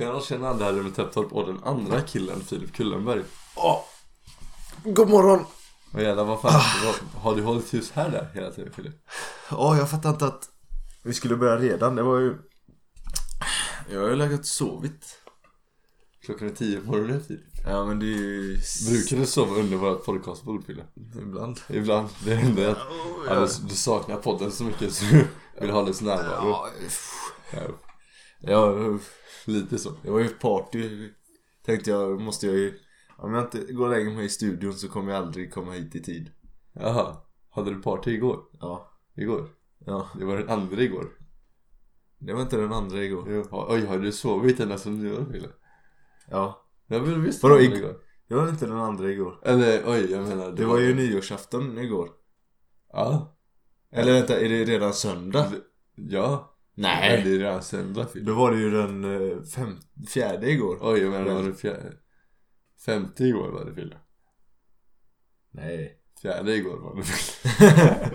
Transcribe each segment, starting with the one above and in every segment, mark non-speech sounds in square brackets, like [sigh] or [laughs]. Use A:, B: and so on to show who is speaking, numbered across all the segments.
A: år senare hade de träffat på den andra killen, Filip Kullenberg.
B: Åh. God morgon!
A: Och jävlar vad fan,
B: Ah.
A: vad, har du hållit hus här där hela tiden Filip?
B: Ja, jag fattar inte att vi skulle börja redan. Det var ju... Jag har ju legat sovit.
A: Klockan är tio på morgonen Filip.
B: Ja, men det är ju...
A: Brukar du sova under vårt podcastbord Filip?
B: Ibland. oh,
A: Ibland. Det händer att alltså, du saknar podden så mycket så du vill ha dess närvaro.
B: Ja, uff.
A: Ja. Ja, lite så.
B: det var ju ett party. Tänkte jag, måste jag ju... Om jag inte går längre med i studion så kommer jag aldrig komma hit i tid.
A: Jaha. Hade du party igår?
B: Ja.
A: Igår?
B: Ja.
A: Det var den andra igår.
B: Det var inte den andra igår.
A: Jo. Oj, har du sovit ända som nyår Filip?
B: Ja.
A: Jag vill visst
B: Vadå,
A: ha den
B: ig- Det var inte den andra igår.
A: Eller oj, jag menar.
B: Det var ju nyårsafton igår.
A: Ja.
B: Eller vänta, är det redan söndag?
A: Ja. Men
B: Nej.
A: det är redan söndag Filip.
B: Då var det ju den eh, fem, fjärde igår.
A: Oj, jag menar var det fjärde? Femte igår var det Filip.
B: Nej.
A: Fjärde igår var det
B: [laughs]
A: Filip.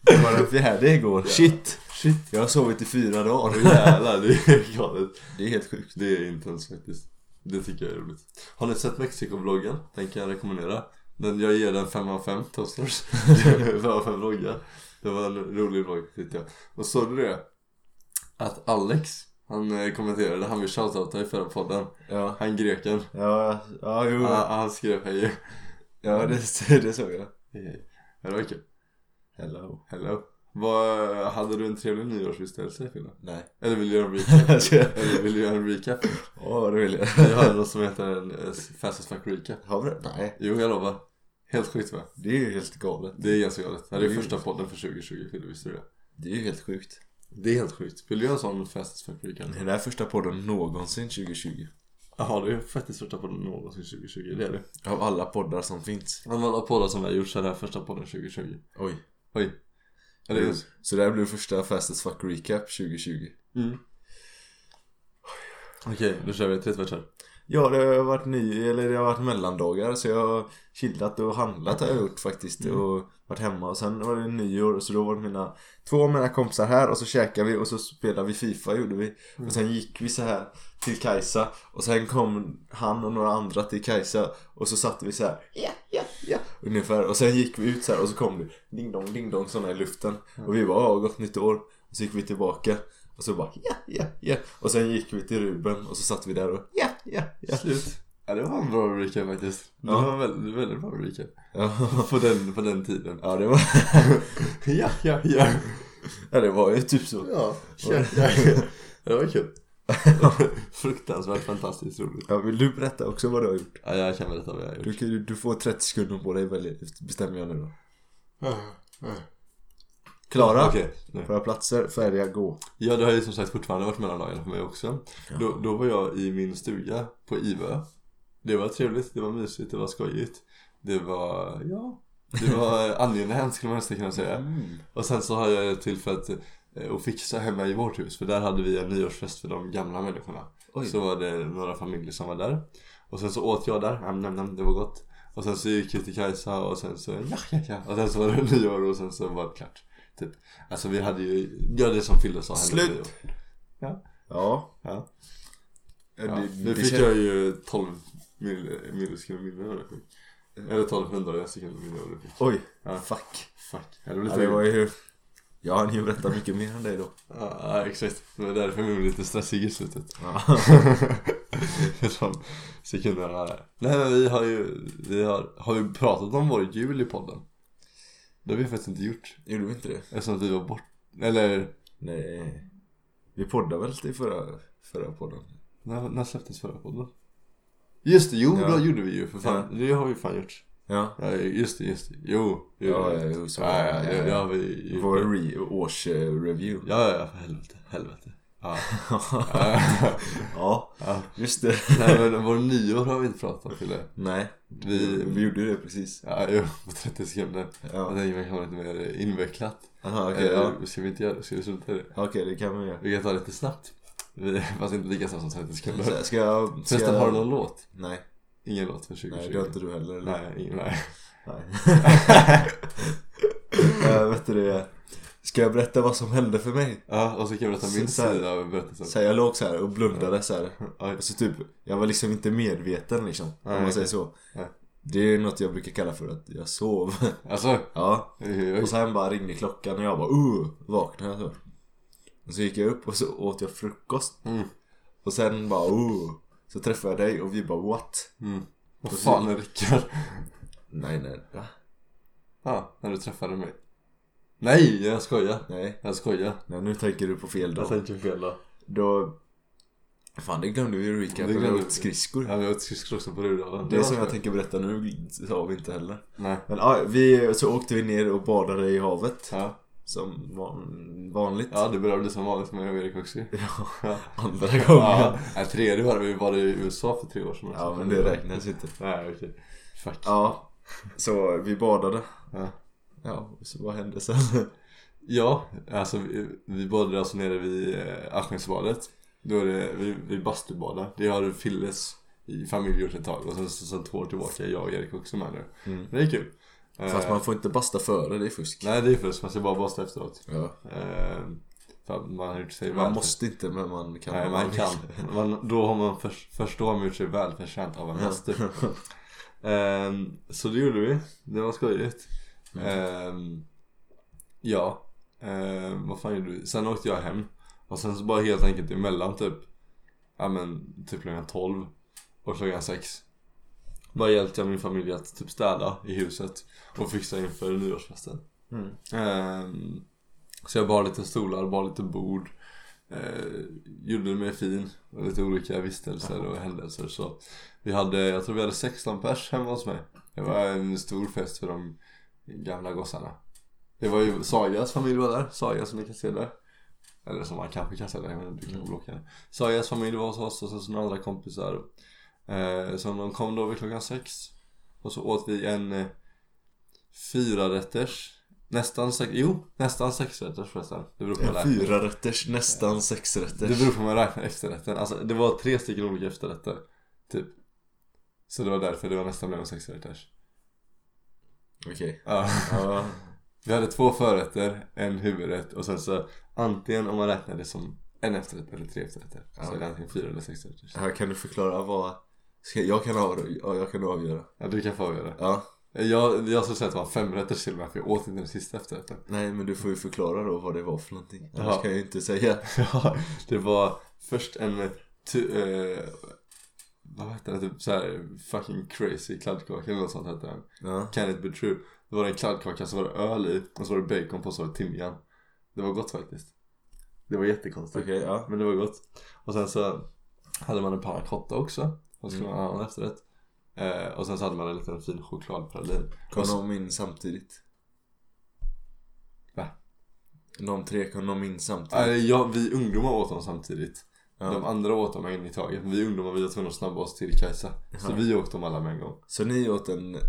B: det var den fjärde igår. Shit.
A: Shit.
B: Jag har sovit i fyra dagar.
A: Åh, Jävlar, det är galet.
B: Det är helt sjukt.
A: Det är intens faktiskt. Det tycker jag är roligt. Har ni sett Mexiko-vloggen? Den kan jag rekommendera. Den, jag ger den 5 av 5
B: [laughs]
A: [laughs] toasters. 5 av 5 vloggar. Det var en rolig vlogg tyckte jag. Och såg du det? Att Alex, han eh, kommenterade, han vill shoutouta i förra podden.
B: Ja.
A: Han greken.
B: Ja, ja jo.
A: Han, han skrev hej.
B: Ja, det, det såg jag.
A: Hej. Ja, Det var kul.
B: Hello.
A: Hello. Vad, hade du en trevlig nyårsvistelse Fille?
B: Nej.
A: Eller vill du [laughs] göra en recap?
B: Alltså, jag-
A: Eller vill du göra en recap?
B: Åh, det vill jag.
A: Vi har något som heter en eh, Fastest Fuck Recap.
B: Har vi det? Nej.
A: Jo, jag lovar. Helt sjukt va?
B: Det är ju helt galet.
A: Det är ganska galet. Det här är
B: Det är
A: första podden för 2020, Fille, visste du det?
B: Det är ju helt sjukt.
A: Det är helt sjukt. Vill du göra en sån Fastest Fuck Recap?
B: Det här är första podden någonsin 2020.
A: Jaha, det är faktiskt första podden någonsin 2020, det är det.
B: Av alla poddar som finns.
A: Av alla poddar som vi har gjort så är det här första podden 2020.
B: Oj.
A: Oj. Ja, det är just.
B: Så det här blir första Fastest Fuck Recap 2020.
A: Mm. Okej, då kör vi. Tre tvärsar.
B: Ja, det har varit ny, eller det har varit mellandagar så jag har chillat och handlat har jag gjort faktiskt och varit hemma och sen var det nyår så då var det mina två av mina kompisar här och så käkade vi och så spelade vi FIFA gjorde vi och sen gick vi så här till Kajsa och sen kom han och några andra till Kajsa och så satte vi så här ja, ja, ja ungefär och sen gick vi ut så här och så kom det ding dong, ding dong sådana i luften och vi bara ja, gott nytt år och så gick vi tillbaka och så bara ja, ja, ja och sen gick vi till Ruben och så satt vi där och ja, ja, ja
A: Slut. Ja, det var en bra recap faktiskt. Det
B: Ja.
A: var en väldigt, väldigt bra recap.
B: Ja, [laughs]
A: På den, på den tiden.
B: ja det var... [laughs]
A: Ja, ja, ja.
B: ja, det var ju typ så.
A: Ja, ja, ja. [laughs] Det var kul. Fruktansvärt fantastiskt roligt.
B: Ja, vill du berätta också vad du har gjort?
A: Ja, jag kan berätta vad jag har gjort.
B: Du, kan- du får 30 sekunder på dig, välja, bestämmer jag nu då. Klara?
A: Okej, nu.
B: Våra platser, färdiga, gå.
A: ja det har ju som sagt fortfarande varit mellandagarna för mig också. Då, då var jag i min stuga på Ivö. Det var trevligt, det var mysigt, det var skojigt. Det var, ja, det var [laughs] angenämt skulle man nästan kunna säga.
B: Mm.
A: Och sen så har jag tillfället eh, att fixa hemma i vårt hus för där hade vi en nyårsfest för de gamla människorna.
B: Oj.
A: Så var det några familjer som var där. Och sen så åt jag där, nam, nam, nam, det var gott. Och sen så gick vi till Kajsa och sen så, ja, ja, ja. Och sen så var det [laughs] nyår och sen så var det klart. Typ. Alltså vi hade ju, ja det som Fille sa. hände
B: Slut.
A: nyår.
B: Ja.
A: Ja.
B: Ja,
A: Ja,
B: det-
A: nu
B: det
A: fick
B: känns-
A: jag ju 12 mil- millisekunder mindre än vad du fick. Eller 1200 sekunder mindre än vad du fick.
B: Oj,
A: Ja.
B: fuck.
A: Fuck. Ja, det var
B: Ja,
A: lite
B: det var ju... Jag hann ju berätta mycket mer än dig då.
A: Ja, ja, exakt. Det var därför vi blev lite stressiga i slutet.
B: Ja.
A: [laughs] Eftersom sekunderna där. Nej men vi har ju, vi har, har vi pratat om vår jul i podden? Det har vi faktiskt inte gjort.
B: [laughs] Gjorde vi inte det?
A: Eftersom att vi var bort, eller
B: Nej. Vi poddade väl till förra, förra podden?
A: när, när släpptes förra podden? Just det, jo
B: Ja.
A: då gjorde vi ju för fan. Det har vi fan gjort.
B: Ja.
A: Ja just det, just det. Jo. jo
B: Ja, ja, jo, så-
A: ja, ja, det- det har vi ju.
B: Vår re- årsreview.
A: Ja, ja, för helvete, helvete. Ja.
B: [laughs] Ja.
A: Ja.
B: Just det.
A: Nej men vår nyår har vi inte pratat om Fille.
B: Nej. Vi,
A: Vi-
B: vi gjorde ju det precis.
A: Ja, jo, på 30 sekunder.
B: Ja. Eh,
A: Jag tänker man kan vara lite mer invecklat.
B: Aha, okej.
A: Okay,
B: ja.
A: Ska vi inte göra Ska vi strunta i det?
B: Okej, det kan vi göra.
A: Vi kan ta det lite snabbt. Vi, [laughs] fast inte lika snabbt som 30
B: Så här,
A: sekunder.
B: Ska jag... Ska
A: Förresten,
B: jag...
A: har du någon låt?
B: Nej,
A: Ingen låt för 2020?
B: nej det har inte du heller. eller? [laughs]
A: Nej, ingen, nej.
B: nej. Eh, vet du det? Ska jag berätta vad som hände för mig?
A: Ja, och så kan jag berätta min
B: Så här-
A: sida av berättelsen.
B: Så här, jag låg så här och blundade så här.
A: Ja,
B: Alltså typ, jag var liksom inte medveten liksom.
A: Nej,
B: om man
A: okej.
B: säger så.
A: Nej.
B: Det är något jag brukar kalla för att jag sov. [laughs]
A: Alltså,
B: ja.
A: oj, oj.
B: Och sen bara ringde klockan och jag bara uh, vaknade så. Och så gick jag upp och så åt jag frukost.
A: Mm.
B: Och sen bara uh. Så träffade jag dig och vi bara what?
A: Mm. Vad fan är Rickard?
B: Nej nej. Va?
A: Ja, när du träffade mig. Nej, jag skojar.
B: Nej.
A: Jag skojar.
B: nej. Nu tänker du på fel dag.
A: tänker fel då.
B: Då... Fan det glömde vi ju
A: Det
B: recapen. Vi
A: glömde
B: åt
A: vi.
B: skridskor.
A: Ja, men jag skridskor också på Rudalen.
B: Det
A: var
B: som jag
A: skoj.
B: tänker berätta nu sa vi inte heller.
A: Nej.
B: Men ja, vi, så åkte vi ner och badade i havet.
A: Ja.
B: Som van, vanligt.
A: ja, det börjar bli som vanligt med mig och Erik också.
B: [laughs] Ja, Andra gången.
A: Ja,
B: Ja.
A: nej, tredje var det. Vi var i USA för tre år sedan också.
B: men det räknas inte.
A: Nej, okej. Fuck.
B: Ja. Så vi badade.
A: Ja.
B: Ja, så vad hände sen?
A: Ja, alltså vi, vi badade alltså nere vid eh, Asknäsbadet. Då är det, vi, vi bastubadar. Det har Filles i familj gjort ett tag och sen, sen, sen två år tillbaka är jag och Erik också med nu.
B: Mm.
A: Det är kul.
B: Fast
A: Eh,
B: man får inte basta före, det är fusk.
A: Nej det är först, man ska bara basta efteråt.
B: Ja.
A: Eh, för att man har gjort sig
B: Man
A: väl.
B: måste inte men man kan.
A: Nej
B: om
A: man
B: vill. [laughs]
A: kan. Man, då har man för, först då har man gjort sig väl förtjänt av en bastu. Ehm, så det gjorde vi. Det var skojigt. Ehm, ja. Ehm, vad fan gjorde vi? Sen åkte jag hem. Och sen så bara helt enkelt emellan typ. Ja men typ klockan 12 och klockan 6. Bara hjälpte jag min familj att typ städa i huset. Och fixa inför nyårsfesten.
B: Mm.
A: Ehm, så jag bar lite stolar, bar lite bord. Eh, gjorde mig fin. Och lite olika vistelser och händelser. Så vi hade, jag tror vi hade 16 pers hemma hos mig. Det var en stor fest för de gamla gossarna. Det var ju Sagas familj var där. Saga som ni kan se där. Eller som man kanske kan se där, men du kan blocka det. Sagas familj var hos oss och sen så några andra kompisar. Eh, som de kom då vid klockan sex. Och så åt vi en eh, fyra rätters Nästan sex, jo nästan sexrätters förresten. Det beror på hur man
B: En
A: räknar.
B: fyra rätters, nästan sex
A: Det
B: rätters.
A: beror på hur man räknar efterrätten. Alltså det var tre stycken olika efterrätter. Typ. Så det var därför det var nästan blev en sexrätters.
B: Okej.
A: Ja.
B: Ja.
A: [laughs] Vi hade två förrätter, en huvudrätt och sen så antingen om man räknar det som en efterrätt eller tre efterrätter. Så är det antingen fyra eller sex rätter.
B: Här kan du förklara vad... Ska, jag, kan av, ja, jag kan avgöra.
A: Ja du kan få avgöra.
B: Ja.
A: Jag, jag skulle säga att det var fem rätter till och med för jag åt inte den sista efterrätten. [laughs]
B: Nej men du får ju förklara då vad det var för någonting. Annars
A: Ja.
B: kan jag ju inte säga.
A: Ja, det var först en tu, eh, vad hette den? Typ såhär fucking crazy kladdkaka eller något sånt hette den.
B: Ja.
A: Can it be true? Det var en kladdkaka så var det öl i och så var det bacon på och så var det timjan. Det var gott faktiskt. Det var jättekonstigt.
B: Okej, ja.
A: Men det var gott. Och sen så hade man en pannacotta också. Och så skulle
B: Mm.
A: man ha en annan efterrätt. Eh, och sen så hade man en liten fin chokladpralin.
B: Kom
A: Och så-
B: de in samtidigt?
A: Va?
B: De tre kom de in samtidigt?
A: Eh, ja, vi ungdomar åt dem samtidigt.
B: Ja.
A: De andra åt dem en i taget. Vi ungdomar vi var tvungna att snabba oss till Kajsa. Så vi åt dem alla med en gång.
B: Så ni åt en eh,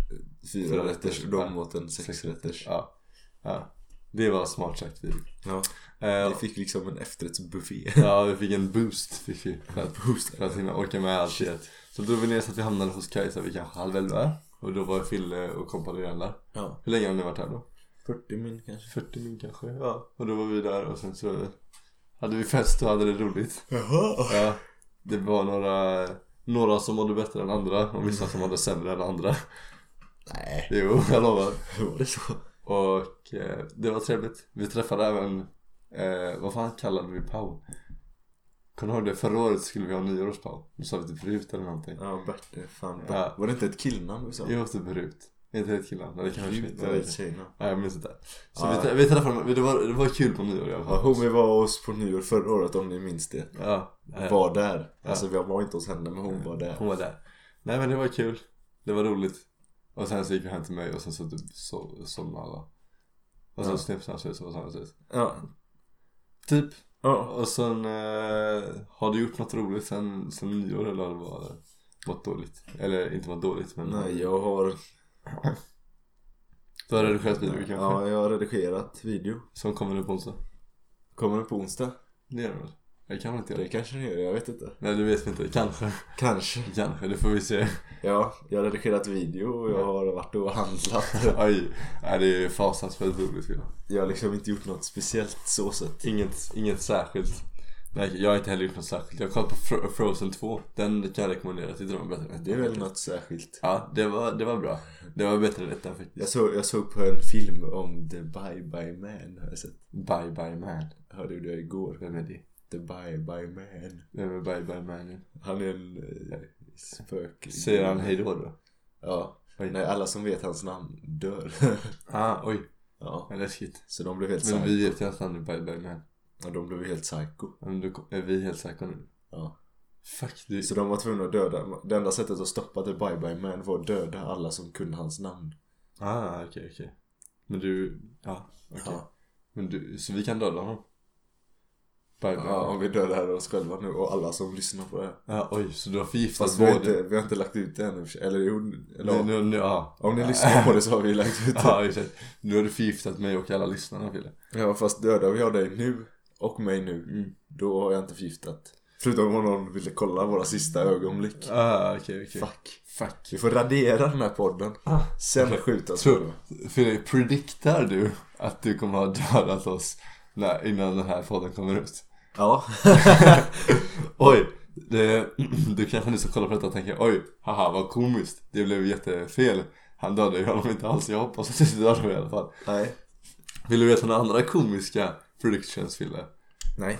B: fyra rätters och de
A: Ja.
B: åt en sex rätters.
A: Ja. ja. Det var smart sagt vi.
B: Ja.
A: Eh,
B: Ni fick liksom
A: [laughs]
B: en efterrättsbuffé.
A: ja, vi fick en boost fick vi. För att,
B: Boost.
A: för att hinna orka med allt i ett. Så drog vi ner så att vi hamnade hos Kajsa vid kanske halv elva. Och då var Fille och kompanjonen där.
B: Ja.
A: Hur länge har ni varit här då?
B: 40 min kanske.
A: 40 min kanske, ja. Och då var vi där och sen så hade vi fest och hade det roligt.
B: Jaha.
A: Ja. Det var några, några som mådde bättre än andra och vissa som mådde sämre än andra.
B: Nej.
A: Jo, jag lovar.
B: Var det så?
A: Och eh, det var trevligt. Vi träffade även, eh, vad fan kallade vi Pau? Kommer du ihåg det? Förra året skulle vi ha nyårspau. Då sa vi typ Rut eller någonting.
B: Ja, Bert. Fan, Bert.
A: Ja.
B: Var det inte ett killnamn du sa?
A: Jo, typ Rut. Inte helt killarna. Nej, det kanske
B: Gud, vad är det
A: inte
B: tjejnamn?
A: Nej, jag minns inte. Så
B: Ja.
A: vi, vi träffade, det var, det var kul på nyår i alla
B: Ja,
A: fall.
B: Homi var hos på nyår förra året om ni minns det.
A: Ja. Eh,
B: Var där. Alltså jag var inte hos henne men hon var där.
A: Hon var där. Nej men det var kul. Det var roligt. Och sen så gick vi hem till mig och sen så typ sov- somnade alla. Och sen
B: Ja.
A: snipsade sig så var samma sak.
B: Ja.
A: Typ.
B: ja.
A: Och sen eh, har du gjort något roligt sen, sen nyår eller har det bara varit dåligt? Eller inte varit dåligt men
B: Nej jag har...
A: du har redigerat video kanske?
B: Ja jag har redigerat video.
A: Som kommer nu på onsdag.
B: Kommer den på onsdag?
A: Det gör det väl? Jag kan väl inte göra
B: Det
A: det.
B: kanske ni gör, jag vet inte.
A: Nej, det vet vi inte. Kanske.
B: Kanske.
A: Kanske, det får vi se.
B: Ja, jag har redigerat video och jag har varit
A: [laughs]
B: och handlat.
A: Oj, nej, det är fasansfullt roligt. ja.
B: Jag har liksom inte gjort något speciellt så sett.
A: Inget, inget särskilt. Nej, jag har inte heller gjort något särskilt. Jag har kollat på Fro- Frozen 2. Den kan jag rekommendera. Tyckte den var bättre än
B: Det är
A: ettan.
B: väl något särskilt.
A: Ja, det var, det var bra. Det var bättre än ettan faktiskt.
B: Jag såg, jag såg på en film om The Bye Bye Man har jag sett.
A: Bye Bye Man.
B: Hörde du det igår?
A: Vem är det?
B: The Bye Bye Man.
A: Vem är Bye Bye Man?
B: Han är en eh, spöklig.
A: Säger han hejdå då?
B: Ja.
A: Oj.
B: Nej, alla som vet hans namn dör. [laughs]
A: Ah, oj.
B: ja.
A: Vad läskigt.
B: Så de blev helt
A: Men
B: psycho.
A: vi vet ju att han är Bye Bye Man.
B: Ja, de blev helt psycho.
A: Men då är vi helt säkra nu.
B: Ja.
A: Fuck du.
B: Så de var tvungna att döda. Det enda sättet att stoppa The Bye Bye Man var att döda alla som kunde hans namn.
A: Ah, okej, okej. Men du, ja, okej.
B: Ja.
A: Men du, så vi kan döda honom? Bye bye.
B: Ja,
A: Ja,
B: om vi dödar oss själva nu och alla som lyssnar på det här.
A: oj, så du har förgiftat
B: Fast vi
A: både...
B: har, inte, vi har inte lagt ut det ännu. Eller jo,
A: Nu,
B: eller,
A: nu, nu, ja.
B: om ni lyssnar på det så har vi lagt ut det.
A: [laughs] Ja, exakt. Nu har du förgiftat mig och alla lyssnarna, Fille.
B: Ja, fast dödar vi har dig nu och mig nu,
A: Mm.
B: då har jag inte förgiftat. Förutom om någon ville kolla våra sista ögonblick.
A: Ah, okej, okej.
B: Fuck.
A: Fuck.
B: Vi får radera den här podden.
A: Ah.
B: Sen skjutas vi.
A: Tror, Fille, prediktar du att du kommer ha dödat oss när, innan den här podden kommer ut? [laughs]
B: Ja.
A: Oj, det, [clears throat] du kanske nu ska kolla på detta och tänka oj, haha vad komiskt. Det blev jättefel. Han dödade ju honom inte alls. Jag hoppas att du inte dödade mig i alla fall.
B: Nej.
A: Vill du veta några andra komiska predictions Fille? [laughs]
B: Nej.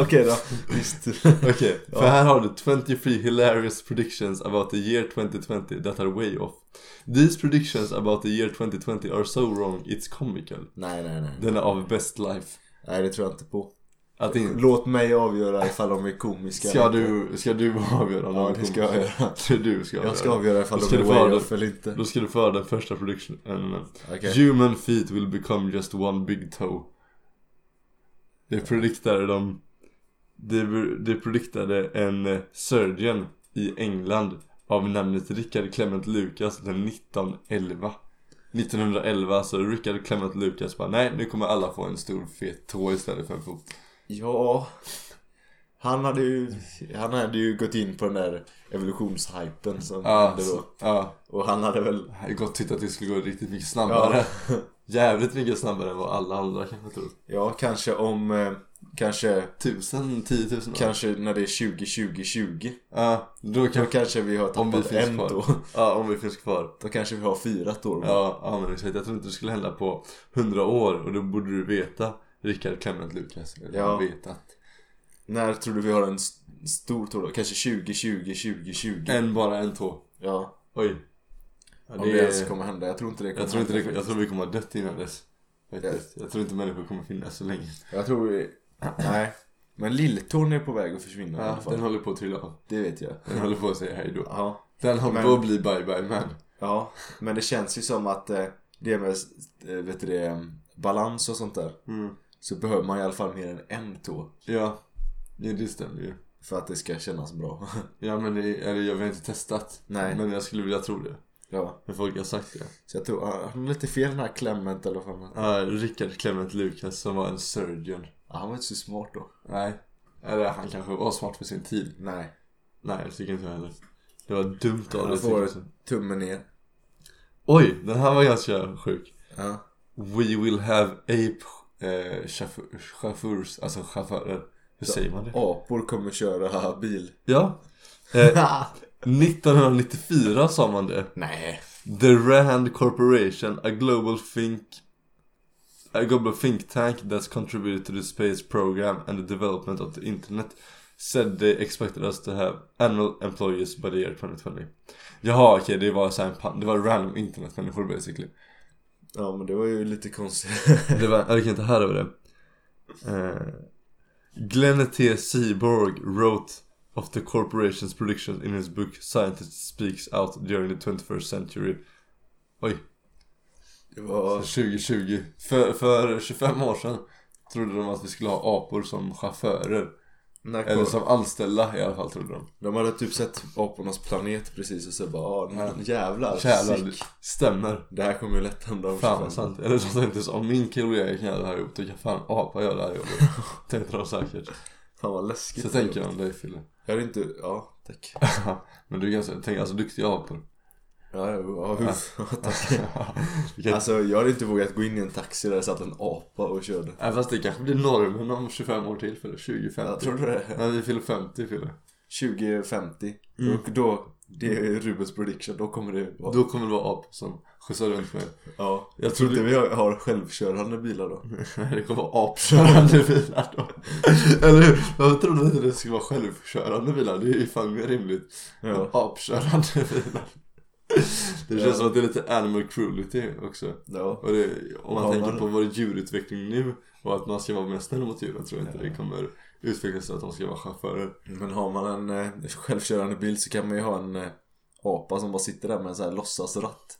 B: Okej då. Visst.
A: Okej, för här har du 23 hilarious predictions about the year 2020 that are way off. These predictions about the year 2020 are so wrong it's comical.
B: Nej, nej, nej.
A: Den är av best life.
B: Nej, det tror jag inte på.
A: Att in,
B: Låt mig avgöra ifall de är komiska.
A: ska, du, ska du avgöra
B: Ja, det ska jag göra.
A: jag. Du ska
B: Jag ska avgöra ifall
A: Då
B: de
A: ska
B: är
A: du få
B: way
A: det.
B: off eller inte.
A: Då ska du få höra den första predictionen.
B: Okej.
A: Human feet will become just one big toe. Det prediktade de... Det, det prediktade en eh, surgeon i England av namnet Richard Clement Lucas den 1911. 1911 så Richard Clement Lucas bara nej nu kommer alla få en stor fet tå istället för en fot.
B: Ja. Han hade ju, han hade ju gått in på den där evolutionshypen som
A: Ja,
B: hände då.
A: ja.
B: Och han hade väl,
A: Jag hade gott tyckt att det skulle gå riktigt mycket snabbare. Jävligt mycket snabbare än vad alla andra kanske tror.
B: ja kanske om, eh, kanske,
A: Tusen, tiotusen år.
B: kanske när det är 20, 20, 20.
A: Ja, då
B: Då
A: kan
B: kanske vi har
A: Om vi
B: tappat
A: finns
B: en
A: kvar.
B: då.
A: Ja, om vi finns kvar.
B: Då kanske vi har fyra år.
A: Ja, ja men exakt. Jag tror inte det skulle hända på 100 år och då borde du veta Rickard Clement Lucas. Eller
B: Ja.
A: vetat.
B: När tror du vi har en s- stor tår då? Kanske 20, 20, 20, 20.
A: En bara en tå.
B: Ja.
A: Oj.
B: Om
A: Eh. det
B: det,
A: är-
B: ens kommer hända. Jag tror inte det kommer
A: Jag tror, inte det,
B: hända.
A: jag tror vi kommer ha dött innan dess. Faktiskt. Jag tror inte människor kommer finnas så länge.
B: Jag tror vi... Nej. Men lilltån är på väg att försvinna i alla
A: Ja,
B: fall.
A: den håller på att trilla av.
B: Det vet jag.
A: Den håller på att säga hej då.
B: Ja.
A: Den håller
B: Men-
A: på att bli bye bye man.
B: Ja, men det känns ju som att eh, det med eh, vet du det, balans och sånt där
A: Mm.
B: så behöver man i alla fall mer än en tå
A: Ja. ja, det stämmer ju.
B: för att det ska kännas bra. [laughs]
A: Ja men det, eller jag har inte testat.
B: Nej.
A: Men jag skulle vilja tro det.
B: ja,
A: Men folk har sagt det.
B: så jag tror ah, han är lite fel den här Clement eller vad fan han-
A: Ja, Rickard Clement Lucas som var en surgeon.
B: ah, Han var inte så smart då.
A: Nej. Eller han kanske var smart för sin tid.
B: Nej,
A: Nej, jag tycker inte jag heller. Det var dumt av
B: han
A: dig.
B: får
A: tycker jag.
B: tummen ner.
A: Oj, den här var ganska sjuk.
B: Ja.
A: We will have ape eh, chaufför- chaufförs, alltså chaufförer. Hur säger man det?
B: Apor kommer köra
A: [laughs]
B: bil.
A: Ja. Eh, 1994 sa man det.
B: Nej.
A: The Rand Corporation, a global think a global think tank that's contributed to the space program and the development of the internet said they expected us to have annual employees by the year 2020. Jaha, okej, det var så här en pan- det var random internetmänniskor basically.
B: Ja men det var ju lite konstigt. [laughs]
A: Det var, jag kan inte höra över det. Eh, Glenn T. Seaborg wrote of the corporation's predictions in his book Scientist Speaks Out During the 21st Century. Oj,
B: Det var...
A: 2020. För, för 25 år sedan trodde de att vi skulle ha apor som chaufförer. Eller som anställda i alla fall trodde de.
B: De hade typ sett apornas planet precis och så bara ah, den här jävlar,
A: Jävlar,
B: sick.
A: det stämmer.
B: Det här kommer ju lätt hända om
A: Fan
B: 25.
A: vad sant. Eller de sa inte så, om min kille och jag kan göra det här ihop, då kan fan apa göra det här
B: [laughs]
A: jobbet. Tänkte de säkert.
B: Fan vad läskigt
A: Så
B: det
A: tänker
B: var.
A: jag om dig Fille. [laughs]
B: Jag hade inte, ja tack
A: Men du är ganska, tänk alltså duktiga
B: [laughs]
A: apor.
B: Ja, ja, ja, [laughs] tack
A: Du kan-
B: Alltså jag hade inte vågat gå in i en taxi där det satt en apa och körde
A: Nej Äh, fast det kanske blir normen om 25 år till Fille. 2050.
B: Jag tror du det?
A: När vi fyller 50 Fille.
B: 2050 då, då, det är Rubens prediction, då kommer det vara
A: Då kommer det vara apor som skjutsar runt mig.
B: Ja,
A: Jag
B: jag tror inte vi har, har självkörande
A: [laughs]
B: bilar då
A: Det kommer vara apkörande bilar då. [laughs] Eller hur? Jag trodde inte det skulle vara självkörande bilar. Det är ju fan mer rimligt.
B: Ja.
A: Apkörande bilar. Det känns
B: Ja.
A: som att det är lite animal cruelty också.
B: Ja,
A: Och det, om man
B: Ja,
A: tänker
B: men-
A: på vår djurutveckling nu och att man ska vara mer snäll mot djuren tror jag inte det kommer utvecklas till att de ska vara [laughs] chaufförer.
B: men har man en eh, självkörande bil så kan man ju ha en eh, apa som bara sitter där med en sån här låtsasratt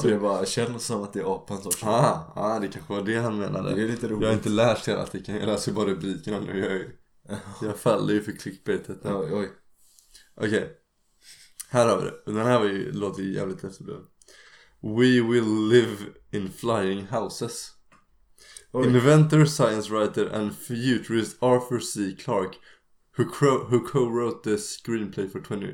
B: Så det bara känns som att det är apan som kör
A: Ah, ah, det kanske var det han menade.
B: Det är lite roligt
A: Jag har inte lärt hela artikeln. Jag läser ju bara rubrikerna nu. Jag, är- jag faller ju för clickbaitet. där.
B: Oj, oj.
A: Okej. Här har vi det. Den här var ju, låter ju jävligt häftig. We will live in flying houses.
B: Oj.
A: Inventor, science writer and futurist Arthur C. Clarke who, cro- who co-wrote the screenplay for 20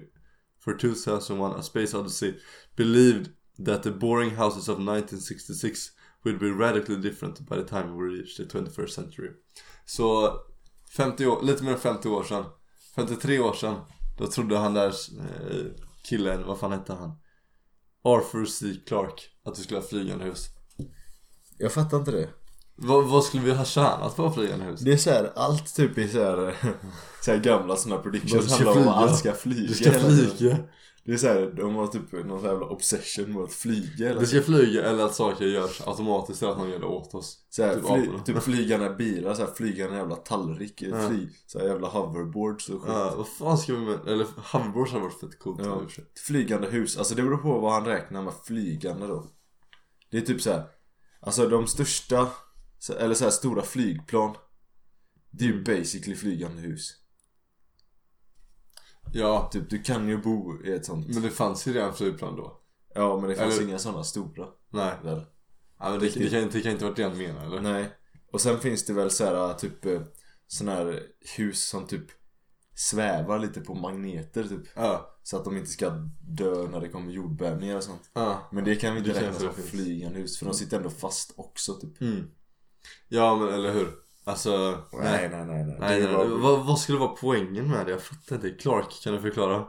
A: for 2001 A Space Odyssey believed that the boring houses of 1966 would be radically different by the time we reach the 21st century. Så 50 år, lite mer än 50 år sedan, 53 år sedan, då trodde han där eh, killen, vad fan hette han? Arthur C. Clarke att vi skulle ha flygande hus.
B: Jag fattar inte det
A: Vad, vad skulle vi ha tjänat på flygande hus?
B: Det är såhär, allt typ är såhär så här gamla såna här
A: Bara
B: predictions
A: ska
B: handlar om
A: flyga.
B: att allt ska flyga
A: Det ska
B: hela tiden.
A: flyga.
B: Det är såhär, de har typ någon sån här jävla obsession med att flyga eller
A: Det ska flyga eller att saker görs automatiskt eller att någon gör det åt oss.
B: så här,
A: typ
B: fly,
A: aporna.
B: typ flygande bilar, så här, flygande jävla tallrik,
A: Ja.
B: fly, så här, jävla hoverboards och skit
A: Ja, vad fan ska vi med... Eller hoverboards hade varit fett coolt.
B: Ja.
A: i och för sig.
B: Flygande hus, alltså det beror på vad han räknar med flygande då Det är typ så här. Alltså de största, så- eller så här stora flygplan Det är
A: Mm.
B: ju basically flygande hus
A: Ja,
B: Typ du kan ju bo i ett sånt
A: men det fanns ju redan flygplan då.
B: Ja men det fanns
A: Eller-
B: inga sådana stora
A: Nej.
B: väl?
A: Ja, men det, det, kan, det kan inte varit det han menade eller?
B: Nej Och sen finns det väl så här typ eh, sån här hus som typ svävar lite på magneter typ
A: Ja.
B: Så att de inte ska dö när det kommer jordbävningar och sånt
A: Ja.
B: Men det kan vi
A: Det
B: inte räkna
A: kanske
B: som
A: finns.
B: flygande hus för de sitter ändå fast också typ
A: Mm. Ja, men eller hur? Alltså... Nej.
B: nej, nej, nej.
A: Nej,
B: Det
A: nej.
B: var-
A: Vad, vad skulle vara poängen med det? Jag fattar inte. Clark, kan du förklara?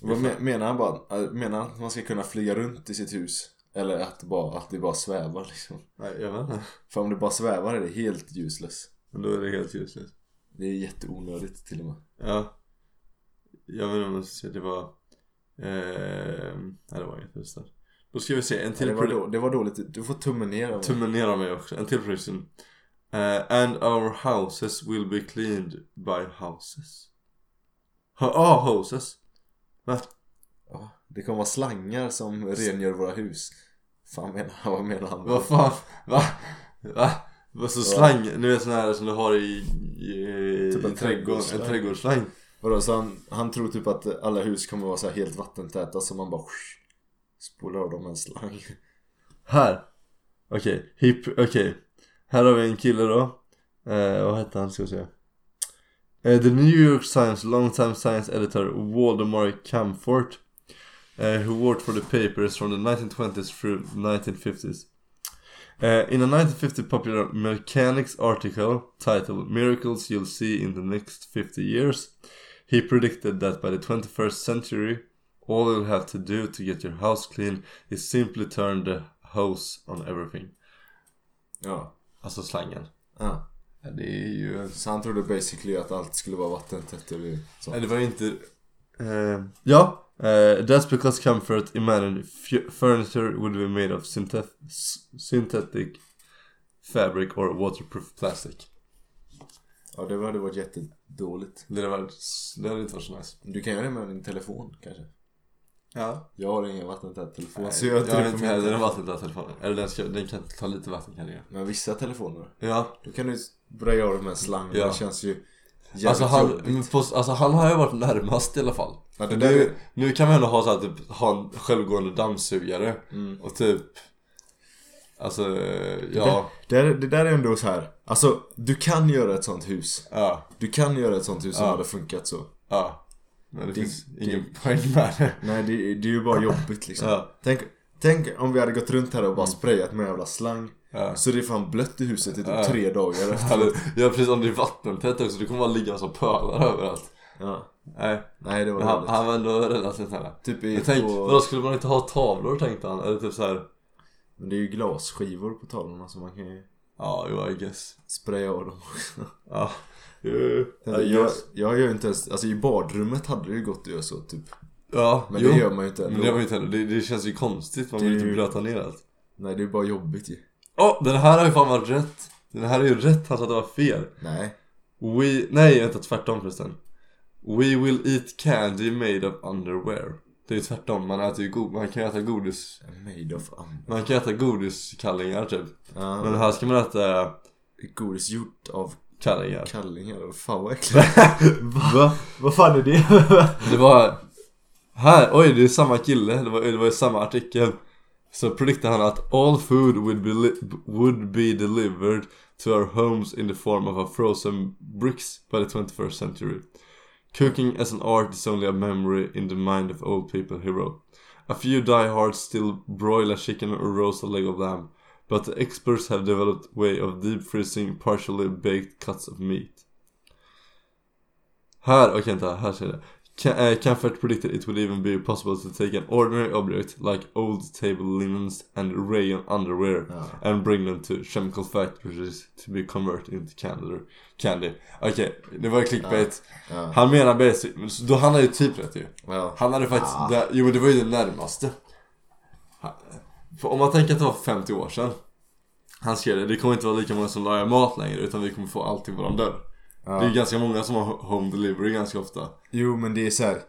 B: Vad men, menar han bara? Äh, Menar han att man ska kunna flyga runt i sitt hus? Eller att, bara, att det bara svävar liksom?
A: Nej, jag vet inte.
B: För om det bara svävar är det helt useless.
A: Men då är det helt ljuslöst.
B: Det är jätteonödigt till och med.
A: Ja. Jag vet inte om jag ska säga det var... Eh, nej det var inget just där. Då ska vi se en
B: Ja,
A: till
B: det, var
A: produ-
B: då, det var dåligt. Du får tummen ner. av mig.
A: Tummen ner av mig också. En till production. Eh, and our houses will be cleaned by houses. Ha- ah, houses. Va?
B: Ja, det kommer vara slangar som rengör våra hus. Fan menar [laughs] han, vad menar han?
A: Vad fan? Va? Va? Vad så slang? Ni vet sån här som du har i... i
B: Typ en
A: i trädgården. En
B: trädgårdsslang.
A: trädgårdsslang.
B: Vadå, så han, han tror typ att alla hus kommer vara så här helt vattentäta så man bara sh, spolar av dem med en slang.
A: Här! Okej, hipp, okej Här har vi en kille då eh, Vad hette han ska vi se Eh, The New York Times longtime science editor Waldemar Camfort eh, Who worked for the papers from the 1920s through 1950s Eh, in a 1950 popular mechanics article titled Miracles You'll See in the Next 50 Years, he predicted that by the 21st century, all you'll have to do to get your house clean is simply turn the hose on everything.
B: Ja.
A: Alltså slangen.
B: ja.
A: Ja, det är ju...
B: Så han trodde basically att allt skulle vara vattentätt. eller så.
A: Nej, det var ju inte... Eh, ja. eh, that's because comfort imagined fu- furniture would be made of synthet- s- synthetic fabric or waterproof plastic.
B: Ja, det hade varit jättedåligt.
A: Det hade, varit, det hade inte varit så nice.
B: Du kan göra det med din telefon kanske.
A: Ja.
B: Jag har ingen vattentät telefon
A: Nej,
B: så jag har inte det på
A: inte
B: min
A: heller en
B: telefon.
A: vattentät telefon. Eller den, ska, den kan ta lite vatten kan den göra.
B: Men vissa telefoner,
A: Ja,
B: då kan du börja göra det med en slang.
A: Ja.
B: Det känns ju Jävligt
A: Alltså han,
B: jobbigt.
A: men på, alltså han har ju varit närmast i alla fall.
B: Ja, det där
A: Nu,
B: är...
A: nu kan man ändå ha så här, typ, ha en självgående dammsugare och typ Alltså, ja,
B: Mm. Det, där- det där är ändå så här. Alltså, du kan göra ett sånt hus.
A: ja,
B: Du kan göra ett sånt hus som hade funkat så.
A: ja Men det,
B: Det-
A: finns ingen poäng med
B: [laughs]
A: det
B: Nej, det, det är ju bara jobbigt liksom.
A: Ja. Mm.
B: Tänk, tänk om vi hade gått runt här och bara sprayat med en jävla slang.
A: Ja.
B: Så det är fan blött i huset i typ
A: Ja.
B: tre dagar efter.
A: Alltså, Ja precis, om det är vattentätt också, det kommer bara ligga en massa pölar överallt
B: [laughs] Ja.
A: Nej,
B: Nej, det var
A: men han,
B: dåligt.
A: han var ändå relativt nära
B: Typ i,
A: Jag tänkte, vadå
B: på,
A: skulle man inte ha tavlor tänkte han? Eller typ såhär,
B: Men det är ju glasskivor på tavlorna så man kan ju
A: ja jo I guess
B: spraya av dem också.
A: Ja, jo,
B: Jag,
A: I
B: jag,
A: guess
B: jag gör ju inte ens, alltså i badrummet hade det ju gått att göra så typ.
A: Ja,
B: Men
A: jo
B: det gör man ju inte
A: Men
B: ändå.
A: det var ju inte heller, det, det känns ju konstigt, man
B: Det
A: vill
B: är
A: inte
B: ju-
A: blöta ner allt
B: Nej, det är bara jobbigt ju.
A: Åh, den här har ju fan varit rätt! Den här är ju rätt, han sa att det var fel
B: Nej.
A: We, nej vänta tvärtom förresten We will eat candy made of underwear Det är ju tvärtom, man äter ju god, man kan ju äta godis
B: Made of and...
A: Man kan äta godiskallingar typ Men
B: Ja,
A: här ska man äta
B: godis gjort av
A: kallingar
B: kallingar. Fan vad äckligt.
A: [laughs]
B: Va? Vad fan är det?
A: Det var Här, oj det är samma kille, det var, det var i samma artikel Så prediktar han att all food would be, li- would be delivered to our homes in the form of a frozen bricks by the 21st century Cooking as an art is only a memory in the mind of old people, he wrote A few diehards still broil a chicken or roast a leg of lamb But the experts have developed way of deep freezing partially baked cuts of meat Här, okej vänta, här ser jag det. Comfort predicted it would even be possible to take an ordinary object like old table linens and rayon underwear
B: Ja.
A: and bring them to chemical factories to be converted into candy. candy. Okej, det var clickbait.
B: Ja.
A: Han menar basic, men så då han har ju typ rätt ju.
B: Ja. Ah.
A: Han hade faktiskt, det, jo men det var ju det närmaste. Han- för Om man tänker att det var 50 år sedan. Han skrev det, det kommer inte vara lika många som lagar mat längre utan vi kommer få allt till våran dörr. Det är ju ganska många som har home delivery ganska ofta.
B: Jo men det är så här.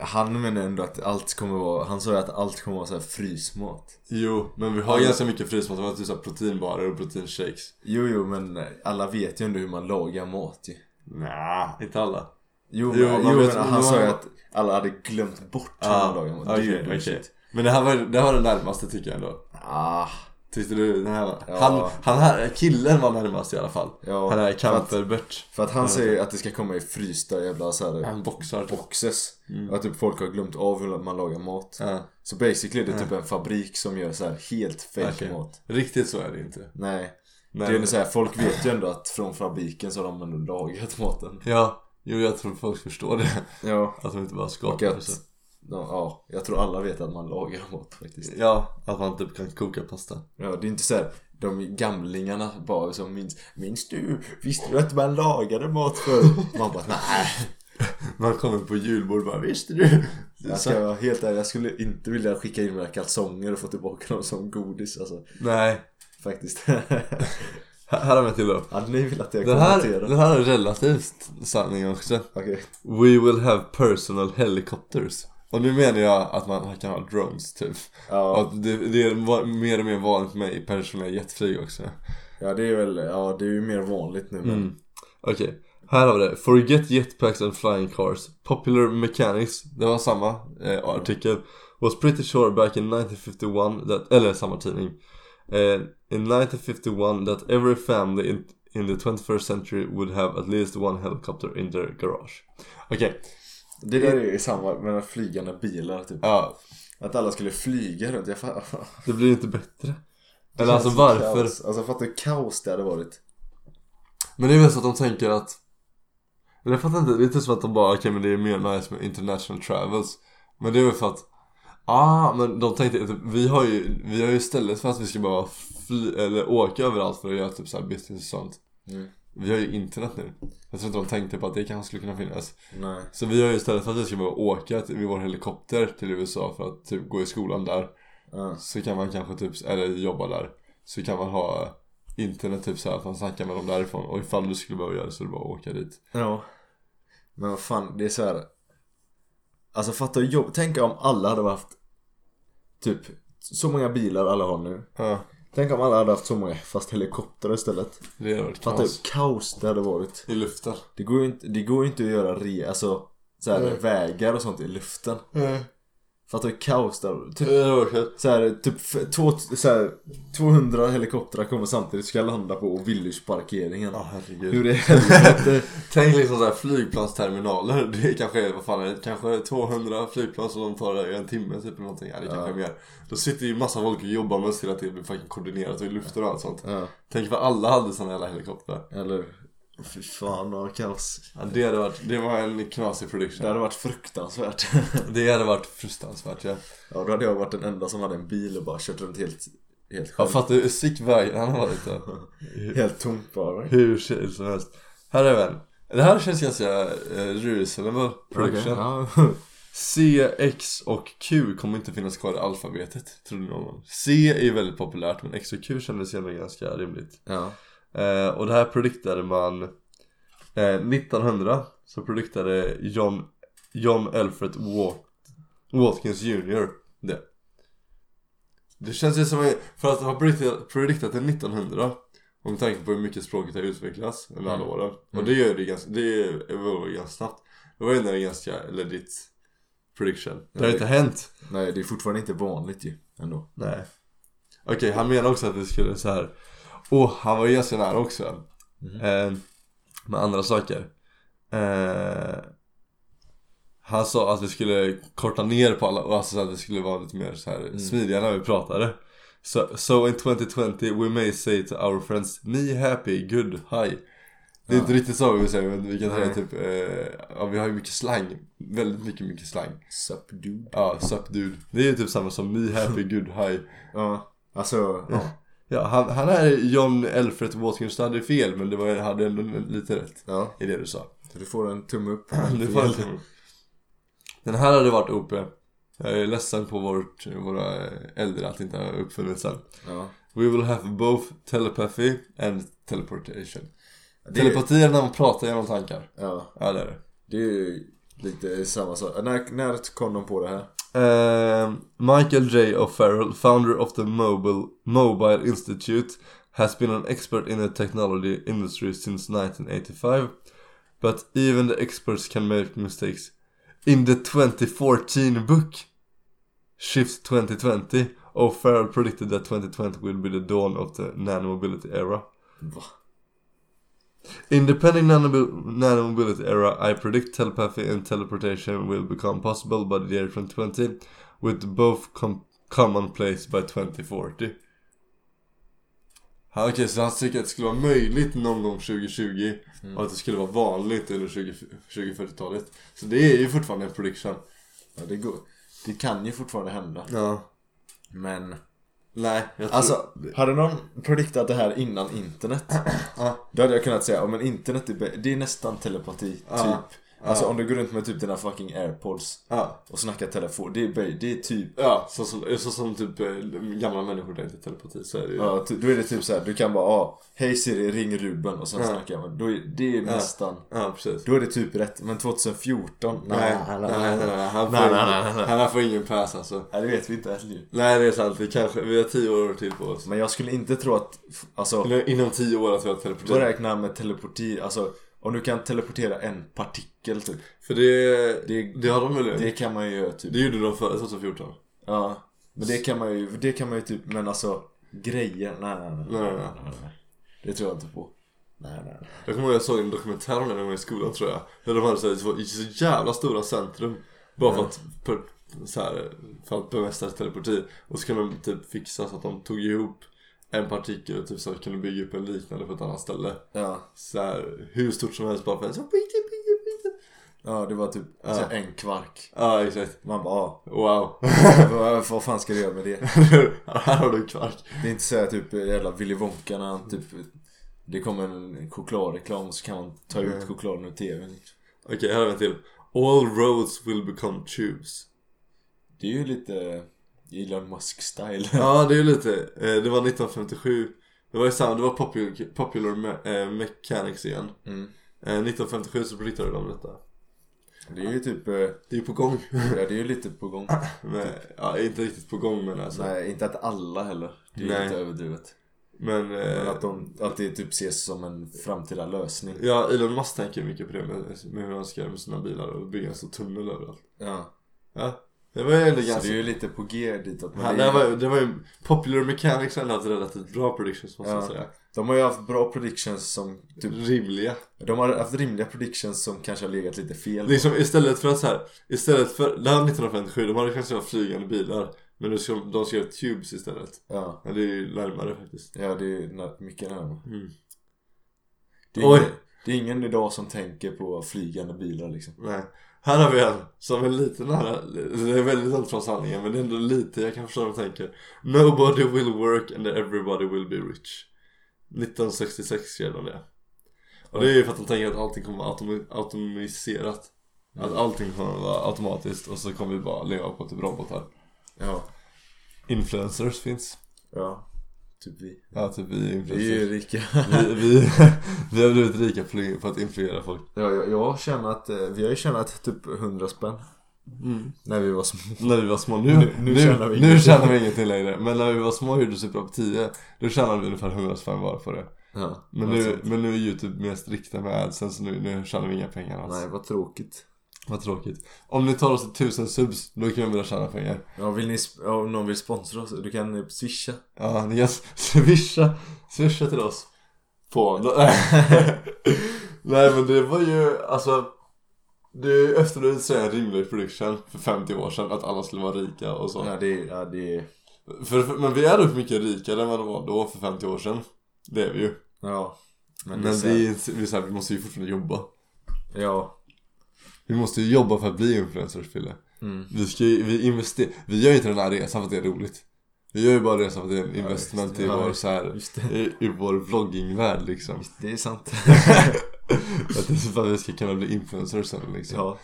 B: Han menar ändå att allt kommer vara, han sa ju att allt kommer vara så här frysmat.
A: Jo, men vi har ganska mycket frysmat. Vi har typ så här proteinbarer och proteinshakes.
B: Jo jo men alla vet ju ändå hur man lagar mat ju.
A: Nja, inte alla.
B: Jo,
A: Jo,
B: men,
A: man
B: jo,
A: vet-
B: men
A: man-
B: han sa ju att alla hade glömt bort hur man lagar mat. Det är
A: Ah,
B: ju
A: okej,
B: ändå
A: okej.
B: shit.
A: Men det här, var, det här var det närmaste tycker jag ändå.
B: Ah.
A: Tyckte du den här var?
B: Ja.
A: Han, han här, killen var närmast i alla fall.
B: Ja,
A: han här
B: för att-
A: Kamperbert.
B: För att han säger ju att det ska komma i frysta jävla såhär
A: Han boxar.
B: boxes. Och att typ folk har glömt av hur man lagar mat.
A: Mm. Ja,
B: Så basically är det typ en fabrik som gör så här helt fake
A: Mm. okej.
B: mat.
A: Riktigt så är det inte.
B: Nej.
A: Men,
B: Det är ändå så här, folk vet ju ändå att från fabriken så har de ändå lagat [laughs] maten.
A: Ja, jo jag tror folk förstår det.
B: Ja.
A: Att de inte bara
B: Och
A: skapar det så.
B: att, de, ja, jag tror alla vet att man lagar mat faktiskt.
A: Ja, att man typ kan koka pasta.
B: Ja, det är inte så här, de gamlingarna bara som minns Minns du? Visste du att man lagade mat förr? Man bara
A: [laughs]
B: nej.
A: Man kommer på julbord och bara visste du?
B: Jag ska vara helt ärlig, jag skulle inte vilja skicka in mina kalsonger och få tillbaka dem som godis alltså.
A: Nej,
B: Faktiskt. [laughs]
A: här här har vi en till då.
B: Hade ni velat att jag
A: Den här,
B: kommenterade?
A: den här är relativt sanning också.
B: Okej.
A: We will have personal helicopters. Och nu menar jag att man kan ha drones typ.
B: Ja.
A: Och att det, det är va- mer och mer vanligt med personliga jetflyg också.
B: Ja det är väl, ja det är ju mer vanligt nu men.
A: Mm. Okej, här har vi det. Forget jetpacks and flying cars. Popular mechanics, det var samma eh, artikel. Was pretty sure back in 1951 that, eller samma tidning. Eh, in 1951 that every family in, in the 21st century would have at least one helicopter in their garage. Okej,
B: Det där är ju samma med flygande bilar typ.
A: ja.
B: Att alla skulle flyga runt. [laughs] Jag fattar.
A: Det blir inte bättre. Eller alltså varför?
B: Kaos. Alltså fattar du kaos det hade varit.
A: Men det är väl så att de tänker att Men jag fattar inte, det är inte som att de bara okej men det är mer nice med international travels Men det är väl för att Ah men de tänkte att vi har ju, vi har ju istället för att vi ska bara fly, eller åka överallt för att göra typ så här business och sånt
B: Mm.
A: Vi har ju internet nu Jag tror inte de tänkte på att det kanske skulle kunna finnas
B: Nej.
A: Så vi har ju istället för att vi ska bara åka till, med vår helikopter till USA för att typ gå i skolan där
B: Ja.
A: Så kan man kanske typ, eller jobba där Så kan man ha internet typ så här att man snackar med dem därifrån Och ifall du skulle behöva göra det så är det bara att åka dit
B: Ja. Men vad fan, det är så här. Alltså fattar du jobb. Tänk om alla hade haft typ så många bilar alla har nu.
A: Ja,
B: Tänk om alla hade haft så många fast helikoptrar istället.
A: Det hade varit
B: Fatta hur
A: kaos.
B: kaos det hade varit.
A: I luften.
B: Det går ju inte, det går ju inte att göra re, alltså, så här,
A: Nej.
B: vägar och sånt i luften. Fatta hur kaos det hade varit. Typ,
A: Det hade varit kul.
B: så här, typ f- två, så här, 200 helikoptrar kommer samtidigt ska landa på villageparkeringen.
A: Ja,
B: Hur
A: herregud.
B: i helvete? [laughs]
A: Tänk liksom såhär flygplansterminaler. [laughs] Det är kanske, vad fan är det? Kanske 200 flygplan som de tar en timme typ eller någonting. Ja, det kanske är mer. Då sitter ju massa folk och jobbar med att se till att det blir fucking koordinerat och i luften och allt sånt.
B: ja,
A: Tänk vad alla hade såna jävla helikoptrar.
B: eller Fy fan vad kaos.
A: Ja, det, hade varit, det var en knasig
B: Det
A: prediction.
B: hade varit fruktansvärt. [laughs]
A: Det hade varit fruktansvärt ja.
B: ja, då hade jag varit den enda som hade en bil och bara kört runt helt, helt
A: Jag
B: själv.
A: fattar hur sick väg han har varit då.
B: Helt tomt bara.
A: Hur chill som helst. Här är väl. Det här känns ganska eh, reasonable prediction.
B: Ja. [laughs]
A: C, X och Q kommer inte finnas kvar i alfabetet, trodde någon. C är ju väldigt populärt, men X och Q kändes ändå ganska rimligt.
B: ja.
A: Eh, och det här prediktade man eh, 1900, så prediktade John, John Alfred Wat, Watkins Jr. det. Det känns ju som, en- för att ha prediktat, prediktat det 1900, och med tanke på hur mycket språket har utvecklats under alla
B: Mm.
A: åren. Och det gör det ganska, det evolverar ganska snabbt. Det var ändå en ganska legit prediction. Det har
B: Ja,
A: inte hänt.
B: Nej, det är fortfarande inte vanligt ju ändå.
A: Nej. Okej, han menar också att vi skulle så här. Och han var ju ganska nära också.
B: Mhm.
A: Eh, med andra saker. Eh, han sa att vi skulle korta ner på alla, och alltså så att vi skulle vara lite mer så här smidiga när vi pratade. So, so in 2020 we may say to our friends, ni happy, good, hi. Det är inte riktigt så vi säger, men vi kan säga
B: Nej.
A: typ, eh, ja, vi har ju mycket slang. Väldigt mycket, mycket slang.
B: Sup dude.
A: Ja, sup dude. Det är ju typ samma som me happy, good, hi.
B: Ja, alltså, ja.
A: Ja, han, han är John Elfred Watkins, du hade fel men det var, hade ändå lite rätt
B: ja.
A: i det du sa.
B: Så du får en tumme [laughs] upp.
A: Det var inte- Den här hade varit uppe. Jag är ledsen på vårt, våra äldre att inte ha uppfunnits den.
B: Ja.
A: We will have both telepathy and teleportation.
B: Det, är-
A: Telepati är när man pratar genom tankar.
B: ja.
A: Ja, det är det.
B: det är ju lite samma sak. När, när kom de på det här?
A: Ehm, Michael J. O'Farrell, founder of the Mobile, Mobile Institute, has been an expert in the technology industry since 1985. But even the experts can make mistakes. In the 2014 book, Shift 2020, O'Farrell predicted that 2020 will be the dawn of the nanomobility era.
B: Va?
A: In the pending nanobil- nanomobility era, I predict telepathy and teleportation will become possible by the year 2020, with both com- commonplace by 2040. Ja, Okej, så han tycker att det skulle vara möjligt någon gång 2020 och att det skulle vara vanligt under 20 2040-talet. Så det är ju fortfarande en prediction.
B: Ja, det, går. det kan ju fortfarande hända.
A: Ja.
B: Men
A: Nej, jag tror...
B: Alltså, hade någon prediktat det här innan internet
A: Ja.
B: Då hade jag kunnat säga, ja men internet är, bä- det är nästan telepati, typ
A: Ja.
B: Alltså om du går runt med typ dina fucking airpods
A: Ja.
B: och snackar telefon, det är, bä- det är typ
A: Ja, så som, så som typ eh, gamla människor tänkte telepati så är det ju.
B: Ja, ty- då är det typ så här, du kan bara ah, Hej Siri, ring Ruben och sen snackar man. Då är, det är nästan
A: Ja, precis.
B: Då är det typ rätt, men 2014?
A: Nej, nej, nej, nej, nej. Han får
B: Nej,
A: ingen-
B: nej, nej, nej.
A: han här får ingen pass alltså.
B: Nej, det vet vi inte heller ju.
A: Nej det är sant, vi kanske, vi har tio år till på oss.
B: Men jag skulle inte tro att, f- alltså,
A: Eller inom tio år att vi har
B: då
A: teleporterat.
B: räknar jag med teleporti, alltså om du kan teleportera en partikel typ
A: För det, det,
B: Det-
A: har de väl
B: Det
A: det,
B: kan man ju göra typ
A: det gjorde de alltså, före 2014.
B: Ja, men det kan man ju, det kan man ju typ, men alltså grejer, nej nej nej.
A: Nej, nej,
B: Det tror jag inte på. Nej nej. nej.
A: Jag kommer ihåg jag såg en dokumentär om det när jag var i skolan tror jag. Där de hade så, här, så, så jävla stora centrum. Bara för att, för, så här, för att bemästra teleporti. Och så kunde de typ fixa så att de tog ihop en partikel och typ så här, kunde bygga upp en liknande på ett annat ställe.
B: Ja,
A: Så här, hur stort som helst bara för en så här, ping, ping, ping, ping.
B: ja det var typ så här en kvark.
A: Ja exakt.
B: Man bara, ah,
A: Wow. [laughs]
B: vad, vad fan ska du göra med det?
A: här har du kvark.
B: Det är inte så här typ jävla Willy Wonka när han typ det kommer en chokladreklam så kan man ta ut chokladen ur tvn.
A: Okej, här har vi en till. All roads will become tubes.
B: Det är ju lite Elon Musk-style.
A: Ja, det är ju lite. eh, Det var 1957. Det var ju samma, det var Popular, popular me- eh, Mechanics igen.
B: Mm.
A: Eh, 1957 så predictade de detta.
B: Det är ju typ... eh,
A: Det är på gång.
B: Ja, det är ju lite på gång.
A: [laughs] Men, ja, inte riktigt på gång men alltså.
B: Nej, inte att alla heller. Det är ju
A: Nej.
B: lite överdrivet.
A: Men,
B: Men
A: eh,
B: att, de, att det typ ses som en framtida lösning.
A: ja, Elon Musk tänker mycket på det med, med hur han ska göra med sina bilar och bygga en stor tunnel överallt.
B: Ja.
A: Ja, det var ju ändå
B: Så det är
A: ganska...
B: ju lite på G ditåt.
A: Ja,
B: Men det
A: det,
B: är,
A: var, det var ju... Popular Mechanics har ändå haft relativt bra predictions måste jag
B: Ja.
A: säga.
B: de har ju haft bra predictions som typ
A: Rimliga.
B: De har haft rimliga predictions som kanske har legat lite fel.
A: Liksom istället för att så här, istället för, det här 1957, de hade kanske haft flygande bilar. Men nu ska, de ska göra tubes istället.
B: Ja,
A: Ja, det är ju närmare faktiskt.
B: ja det är ju när- mycket närmare.
A: Mm.
B: Det är,
A: Oj.
B: ingen, det är ingen idag som tänker på flygande bilar liksom.
A: Nej. Här har vi en som är lite nära, det är väldigt långt från sanningen men det är ändå lite, jag kan förstå vad de tänker. Nobody will work and everybody will be rich. 1966 skrev de det. Och det är ju för att de tänker att allting kommer vara autom- automatiserat. Att allting kommer vara automatiskt och så kommer vi bara leva på typ robotar.
B: Ja,
A: Influencers finns.
B: ja. Typ vi.
A: Ja, typ vi är
B: [laughs] Vi är
A: influencers.
B: ju rika.
A: Vi, vi, [laughs] vi har blivit rika för- för att influera folk.
B: Ja, jag, jag har tjänat, eh, vi har ju tjänat typ 100 spänn. När vi var små.
A: När vi var små, nu,
B: Nu-
A: nu,
B: nu
A: nu,
B: tjänar vi
A: vi
B: ingenting.
A: tjänar vi ingenting längre Men när vi var små och gjorde Superup 10 Då tjänade vi ungefär 100 spänn var på det
B: Ja,
A: Men
B: alltså,
A: nu, men nu är Youtube mer strikta med adsen så nu, nu tjänar vi inga pengar alls
B: Nej, vad tråkigt.
A: Vad tråkigt Om ni tar oss till 1000 subs, då kan vi börja tjäna pengar
B: Ja, vill ni, sp- ja, om någon vill sponsra oss, du kan eh, swisha.
A: Ja, ni kan s- [laughs] swisha, swisha till oss På [laughs] Nej men det var ju, alltså Det är ju efter att säga en rimlig prediction för 50 år sedan att alla skulle vara rika och så
B: Ja, det är, ja, det är,
A: För, för, men vi är dock mycket rikare än vad de var då för 50 år sedan. Det är vi ju.
B: ja. Men,
A: Men
B: det är så här-
A: vi, vi, är så här, vi måste ju fortfarande jobba.
B: ja.
A: Vi måste ju jobba för att bli influencers Fille.
B: Mm.
A: Vi ska ju, vi investerar. Vi gör ju inte den här resan för att det är roligt. Vi gör ju bara resan för att det är en investment
B: det.
A: i
B: Ja,
A: vår
B: just-
A: så här,
B: Just det.
A: i, i vår vloggingvärld liksom.
B: Det är [laughs] sant.
A: Att det är för att vi ska kunna bli influencers sen liksom.
B: Ja.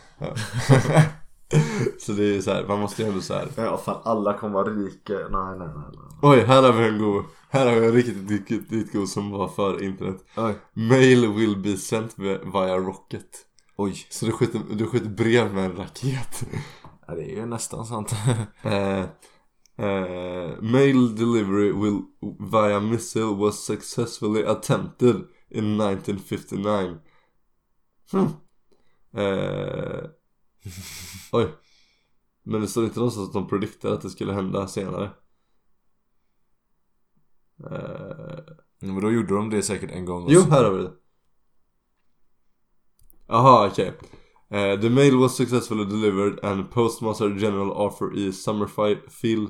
A: Så det är ju så här, man måste ju ändå så här.
B: Ja fan alla kommer vara rika. Nej nej nej. nej.
A: Oj, här har vi en god. Här har vi en riktigt, riktigt, riktigt god som var för internet.
B: Oj.
A: Mail will be sent via rocket.
B: Oj.
A: Så du skjuter, du skjuter brev med en raket.
B: Ja, det är ju nästan sant.
A: Eh,
B: [laughs]
A: eh, mail delivery will via missile was successfully attempted in 1959. Hmm. Eh, [laughs] oj. Men det står inte någonstans att de prediktade att det skulle hända senare. Eh,
B: Men då gjorde de det säkert en gång.
A: Jo,
B: också.
A: här har vi det. Aha, okej. Eh, the mail was successfully delivered and Postmaster General Arthur E. Summerfield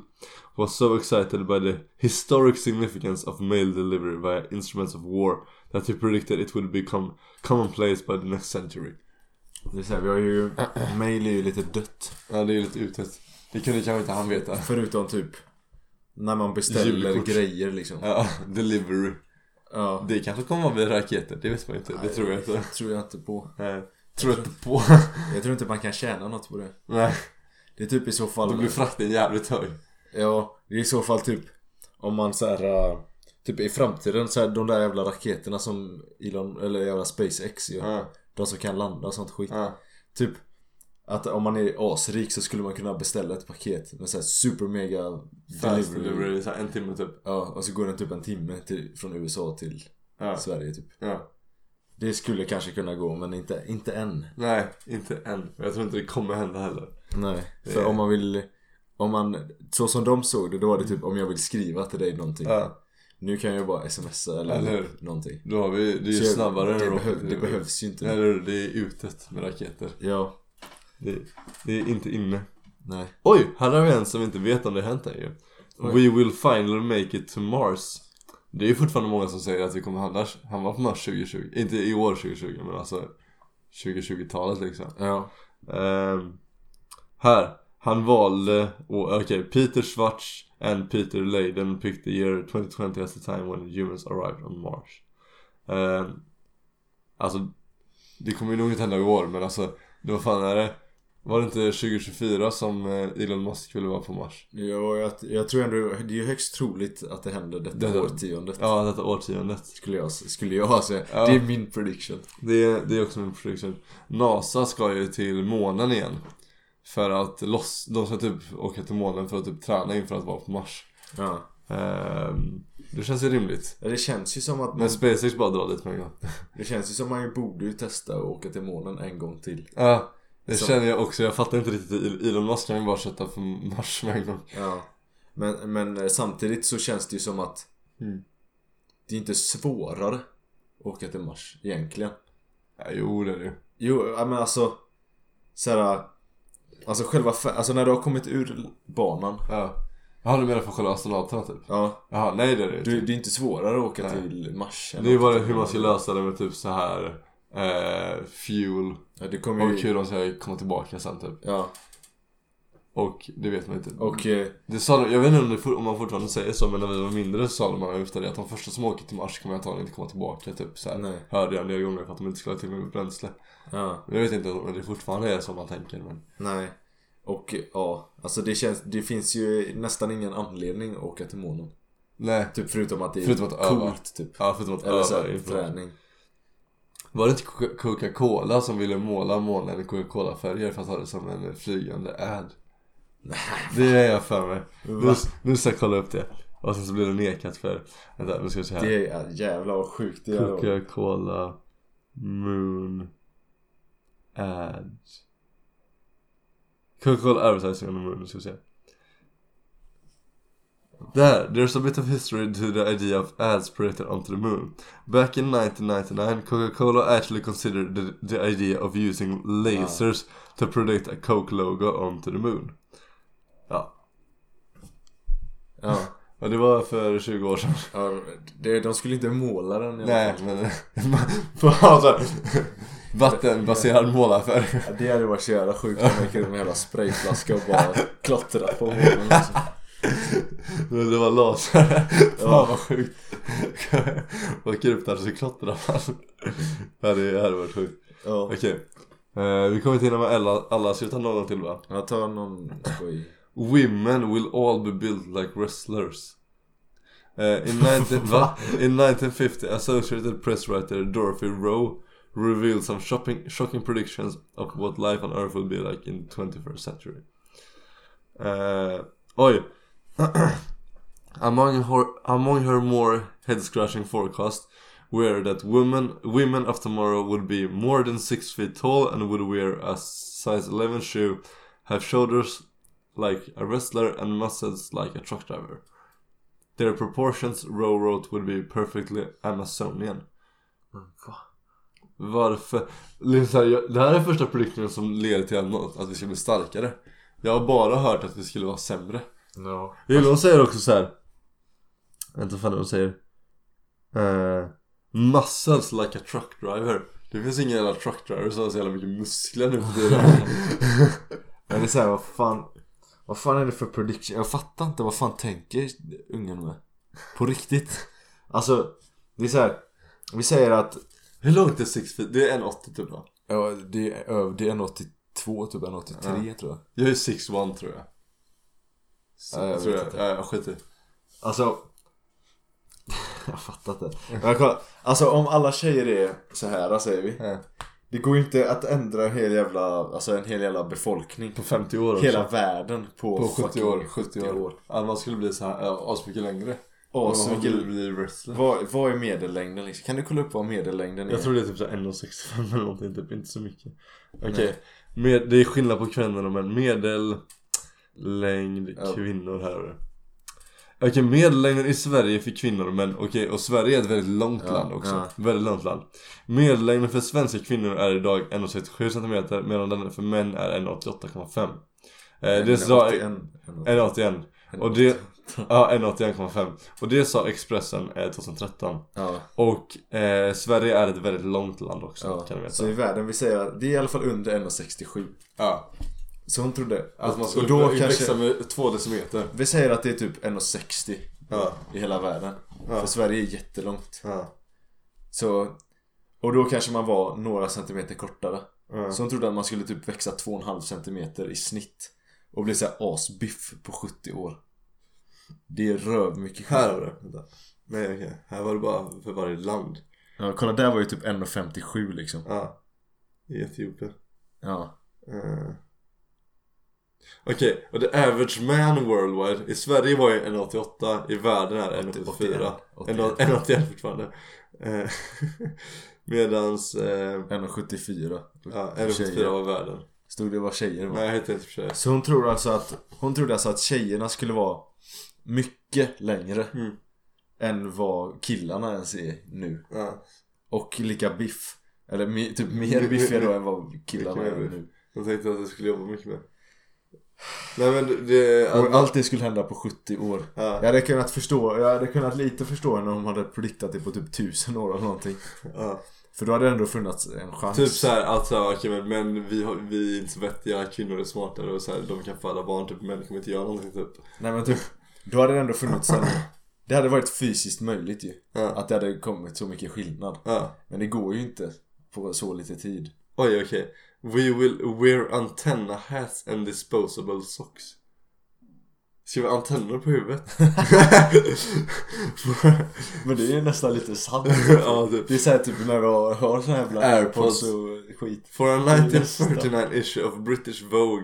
A: was so excited by the historic significance of mail delivery via instruments of war that he predicted it would become commonplace by the next century.
B: Det är så här, vi har ju... Mail är ju lite dött.
A: Ja, det är ju lite utet. Det kunde kanske inte han veta.
B: Förutom typ... När man beställer
A: Julkort.
B: grejer liksom.
A: [laughs] Ja, delivery.
B: Ja.
A: Det kanske kommer vara med raketer, det vet man inte. Det tror jag inte.
B: Tror jag inte på.
A: Eh, tror inte [laughs] på.
B: Jag tror inte man kan tjäna något på det.
A: Nej,
B: Det är typ i så
A: då
B: fall...
A: blir frakten jävligt hög.
B: Ja, det är i så fall typ... Om man så här... äh, Typ i framtiden så här, de där jävla raketerna som Elon, eller jävla SpaceX gör.
A: Ja,
B: De som kan landa och sånt skit.
A: ja.
B: Typ att om man är asrik så skulle man kunna beställa ett paket med såhär super mega
A: Fast
B: delivery.
A: delivery, så här, en timme typ.
B: Ja, och så går den typ en timme till, från USA till
A: Ja.
B: Sverige typ.
A: ja.
B: Det skulle kanske kunna gå men inte, inte än.
A: Nej, inte än. Jag tror inte det kommer hända heller.
B: Nej. För om man vill, om man, så som de såg det då var det typ om jag vill skriva till dig någonting.
A: Ja.
B: Nu kan jag bara smsa eller,
A: Eller hur?
B: någonting.
A: Då har vi, det är
B: Så
A: ju
B: jag-
A: snabbare
B: det,
A: än rocket
B: behöv, det
A: delivery.
B: behövs ju inte.
A: Eller hur? det är utet med raketer.
B: Ja,
A: Det, det är inte inne.
B: nej.
A: Oj, här har vi en som inte vet om det har hänt än ju.
B: Oj.
A: We will finally make it to Mars. Det är ju fortfarande många som säger att vi kommer hamna, hamna på Mars 2020. Inte i år 2020 men alltså 2020-talet liksom.
B: Ja.
A: Ehm, här. Han valde, och okej, Peter Schwartz and Peter Leyden picked the year 2020 as the time when humans arrived on Mars. Ehm, alltså, det kommer ju nog inte hända i år men alltså, det var fan är det? Var det inte 2024 som eh, Elon Musk ville vara på Mars?
B: Jo, jag, jag tror ändå, det är ju högst troligt att det händer detta
A: Detta-
B: årtiondet.
A: Ja, detta årtiondet.
B: Skulle jag, skulle jag säga.
A: Ja.
B: Det är min prediction.
A: Det är, det är också min prediction. NASA ska ju till månen igen. För att loss, de ska typ åka till månen för att typ träna inför att vara på Mars.
B: Ja.
A: Ehm, det känns ju rimligt.
B: Ja, Det känns ju som att man,
A: Men SpaceX bara drar lite på en gång.
B: det känns ju som att man ju borde ju testa att åka till månen en gång till.
A: Ja, det
B: Så.
A: känner jag också. Jag fattar inte riktigt. Elon Musk kan ju bara sätta på Mars med en gång.
B: Ja. Men, men eh, samtidigt så känns det ju som att
A: Mm.
B: det är inte svårare att åka till Mars egentligen.
A: Ja, jo, det är det ju.
B: Jo, ja, men alltså såhär Alltså själva, fär- alltså när du har kommit ur banan
A: Ja. Jaha, du menar för själva astronauterna typ?
B: Ja,
A: Jaha, nej det är det ju
B: du,
A: inte.
B: det är inte svårare att åka
A: Nej.
B: till Mars än
A: Det är ju
B: att åka
A: bara
B: till
A: hur man ska
B: månen.
A: lösa det med typ så här eh, fuel
B: ja, du kommer
A: och
B: ju,
A: hur de ska komma tillbaka sen typ.
B: ja,
A: Och det vet man inte.
B: och eh,
A: Det sa, de- jag vet inte om, det, for- om man fortfarande säger så men när vi var mindre så sa man ofta det att de första som åker till Mars kommer antagligen inte komma tillbaka typ så här.
B: nej,
A: Hörde jag en del gånger för att de inte skulle ha tillgång till bränsle.
B: ja,
A: Men jag vet inte om det fortfarande är så man tänker men.
B: nej Och eh, ja, alltså det känns, det finns ju nästan ingen anledning att åka till månen
A: Nej.
B: Typ förutom att det är
A: Förutom att
B: coolt
A: öva.
B: typ
A: Ja förutom att
B: Eller
A: öva
B: såhär
A: inför.
B: träning
A: Var det inte Coca- Coca-Cola som ville måla månen i Coca-Cola färger fast ha det som en flygande ad? Det är jag för mig. Nu,
B: Va?
A: nu ska jag kolla upp det. Och sen så blir det nekat för... Vänta nu ska vi se här.
B: Det är jävla vad sjukt det är
A: Coca-Cola Moon Ads Coca-Cola advertising on the moon, ska vi se Där, there's a bit of history to the idea of ads projected onto the moon. Back in 1999, Coca-Cola actually considered the, the idea of using lasers to project a Coke logo onto the moon. Ja,
B: Ja,
A: och det var för 20 år sedan.
B: ja det, de skulle inte måla den i alla
A: Nej,
B: fall.
A: men [laughs] man får ha så här vattenbaserad målarfärg.
B: Ja, det hade varit så jävla sjukt om man gick runt med en jävla sprayflaska och [laughs] bara klottrade på månen liksom.
A: Men det var laser. [laughs] Fan
B: Ja.
A: vad sjukt. Åker upp där så klottrar man. Det hade, det hade varit sjukt.
B: Ja,
A: Okej. Eh, vi kommer till när alla, alla ska vi ta någon till va?
B: jag tar någon skoj
A: Women will all be built like wrestlers. Eh, in, 19, va? in 1950, Associated Press writer Dorothy Rowe revealed some shocking, shocking predictions of what life on earth will be like in the 21st century. Eh, oj! [clears throat] among, her, among her more head-scratching forecasts were that women, women of tomorrow would be more than 6 feet tall and would wear a size 11 shoe, have shoulders like a wrestler and muscles like a truck driver. Their proportions, Roe wrote, would be perfectly Amazonian. Varför? Liksom, så här, jag, det här är första produkten som leder till att, något, att vi ska bli starkare. Jag har bara hört att vi skulle vara sämre.
B: Ja
A: Jo, de säger också så här. Vänta vad fan de säger. Uh, muscles like a truck driver. Det finns ingen jävla truck driver som har så jävla mycket muskler nu för tiden.
B: Men det är såhär, vad fan Vad fan är det för prediction? Jag fattar inte, vad fan tänker ungen med? På riktigt Alltså, det är såhär Vi säger att
A: Hur långt är 6 feet? Det är 1,80 typ va?
B: ja, det, är, över- det är en 82 typ, en 83 tror jag
A: Jag är 6-1 tror jag.
B: Ja, jag
A: tror
B: vet
A: jag.
B: inte.
A: Ja, jag skiter i.
B: Alltså [laughs] Jag fattar inte Men jag kollar, alltså om alla tjejer är så här säger vi
A: Ja.
B: Det går ju inte att ändra en hel jävla, alltså en hel jävla befolkning
A: På 50 år också.
B: Hela världen på,
A: På 70
B: fucking
A: år. 70 år. Ja, man skulle bli så här ja, asmycket längre.
B: Ja, så
A: Man
B: mycket-
A: skulle bli wrestler.
B: Vad, vad är medellängden liksom? Kan du kolla upp vad medellängden är?
A: Jag tror det är typ så här 1,65 eller någonting, typ inte så mycket. Okej, med, det är skillnad på kvinnor och män. Medellängd
B: Ja.
A: kvinnor här. har du. Okej, medellängden i Sverige för kvinnor och män. Okej, och Sverige är ett väldigt långt
B: Ja,
A: land också.
B: ja.
A: Väldigt långt land. Medellängden för svenska kvinnor är idag 1,67 cm medan den för män är 1,88,5. Eh, det sa... 1,81. Och det... Ja, 1,81,5. Och det sa Expressen eh, 2013.
B: Ja,
A: Och eh, Sverige är ett väldigt långt land också
B: ja.
A: kan du veta.
B: Så i världen, vi säger att det är i alla fall under 1,67
A: ja.
B: Så hon trodde
A: Att Alltså, man skulle
B: och då
A: kunna
B: kanske,
A: växa med två decimeter.
B: Vi säger att det är typ 1,60
A: Ja.
B: i hela världen
A: Ja.
B: För Sverige är jättelångt
A: Ja.
B: Så, och då kanske man var några centimeter kortare
C: Ja.
B: Så de trodde att man skulle typ växa 2,5 cm i snitt. Och bli såhär asbiff på 70 år. Det är röv mycket
A: Här har du. Vänta. Nej okej. Här var det bara för varje land.
B: Ja, kolla där var ju typ 1,57 liksom.
A: Ja. I Etiopien.
B: Ja.
A: Eh. Okej, och the average man worldwide. I Sverige var ju 1,88. I världen är 1,84.
B: 81.
A: 1,81 fortfarande. Eh, [laughs] Medans... Eh,
B: 1,74.
A: ja,
B: Tjejer.
A: 1,84 var världen.
B: Stod det vad tjejer var?
A: Nej, jag heter inte för sig.
B: Så hon tror alltså att Hon trodde alltså att tjejerna skulle vara Mycket längre
A: Mm.
B: Än vad killarna ens är nu
A: Ja.
B: Och lika biff Eller mi- typ mer biffiga då än vad killarna är
A: Mycket mer
B: nu
A: Jag tänkte att jag skulle jobba mycket mer. Nej men det...
B: Och allt det skulle hända på 70 år Jag
A: Ja,
B: hade kunnat förstå Jag hade kunnat lite förstå henne om hon hade prediktat det på typ 1000 år eller någonting
A: ja.
B: För då hade det ändå funnits en chans
A: Typ såhär att såhär, okej men män vi, har, vi är inte så vettiga, kvinnor är smartare och såhär de kan föda barn typ men de kommer inte göra någonting typ.
B: Nej men typ Då hade det ändå funnits en Det hade varit fysiskt möjligt ju
A: Ja.
B: Att det hade kommit så mycket skillnad
A: Ja.
B: Men det går ju inte på så lite tid.
A: Oj okej. We will wear antenna hats and disposable socks. Ska vi ha antenner på huvudet? [laughs]
B: Men det är ju nästan lite sant.
A: ja typ.
B: Det är såhär typ när du har, har såna här jävla
A: Airpods.
B: airpods och skit.
A: For a
B: Nästa.
A: 1939 issue of British Vogue,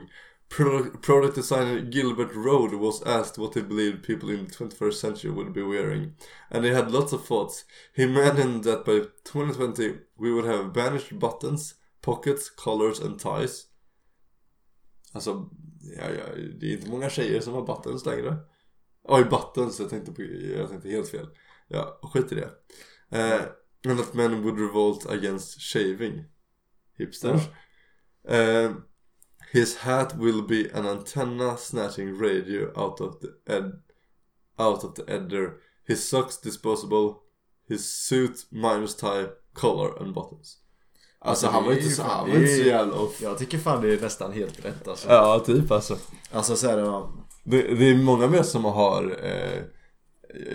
A: pro- product designer Gilbert Rode was asked what he believed people in the 21st century would be wearing. And he had lots of thoughts. He imagined that by 2020 we would have banished buttons, pockets, collars and ties. Alltså, ja, ja, det är inte många tjejer som har buttons längre. Oj, buttons, jag tänkte, på, jag tänkte helt fel. Ja, skit i det. Eh, and that men would revolt against shaving. Hipsters. Eh, his hat will be an antenna snatching radio out of the ed- out of the edder. His socks disposable. His suit minus tie, collar and buttons. Alltså, han var
B: det är
A: inte
B: ju
A: så,
B: fan-
A: han
B: det
A: var inte
B: är-
A: så jävla off.
B: Jag tycker fan det är nästan helt rätt alltså.
A: Ja, typ alltså.
B: Alltså såhär, ja.
A: Det, det är många mer som har eh,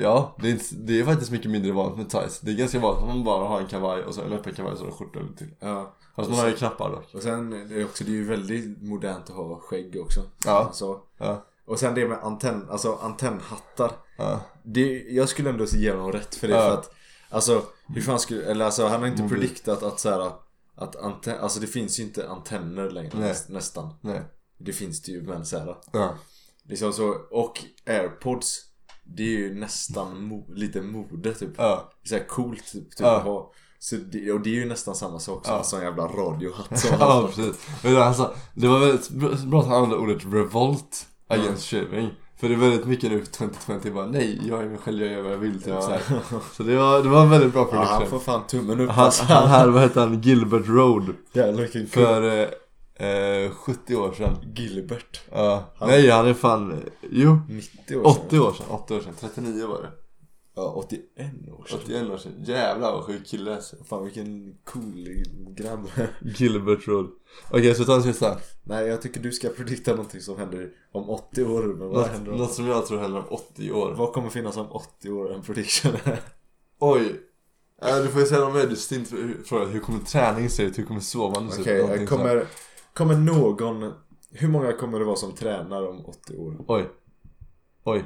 A: Ja, det är, inte, det är faktiskt mycket mindre vanligt med tights Det är ganska vanligt att man bara har en kavaj och så en öppen kavaj och så en skjorta under till
B: ja.
A: Fast man har ju knappar dock
B: Och sen är det, också, det är ju väldigt modernt att ha skägg också.
A: Ja.
B: Alltså.
A: Ja,
B: Och sen det med antenn, alltså antennhattar.
A: ja,
B: Det, jag skulle ändå ge honom rätt för det
A: Ja. Mm.
B: för att Alltså hur fan skulle, eller alltså han har inte
A: Mobil.
B: prediktat att såhär Att anten, alltså det finns ju inte antenner längre
A: Nej.
B: näst, nästan
A: nej
B: Det finns det ju men såhär
A: Ja,
B: Liksom så, och airpods Det är ju nästan mo, lite mode typ
A: ja,
B: så här coolt typ, typ
A: Ja.
B: att ha så det, Och det är ju nästan samma sak som
A: Ja.
B: som en jävla radiohatt [laughs] som han
A: [laughs] ja
B: har.
A: precis Men alltså, det var väldigt br- bra att han använde ordet revolt against shaving För det är väldigt mycket nu 2020 bara nej, jag är mig själv, jag gör vad jag vill typ
B: Ja.
A: så, här. så det var, det var en väldigt bra
B: ja, han
A: production
B: får fan tummen upp
A: han,
B: alltså
A: han här, vad heter han? Gilbert Road
B: Jävlar vilken kul
A: För eh, eh, 70 år sedan
B: Gilbert
A: Ja,
B: Han-
A: nej han är fan, jo
B: 90 år sedan.
A: 80 år sedan, 80 år sedan, 39 var det
B: Ja 81 år sedan
A: 81 år sedan, jävlar vad sjuk kille alltså
B: Fan vilken cool grabb
A: Gilbert Road Okej, så ta en sista
B: [laughs] Nej jag tycker du ska predikta någonting som händer om 80 år Men vad
A: något,
B: händer om...
A: något som jag tror händer om 80 år
B: Vad kommer finnas om 80 år en prediction? [laughs]
A: Alltså, Oj! Äh, du får ju säga någon väldigt distinkt fråga, hur kommer träning se ut? Hur kommer sovandet se ut?
B: Okej,
A: Någonting sånt.
B: kommer, kommer någon Hur många kommer det vara som tränar om 80 år?
A: Oj Oj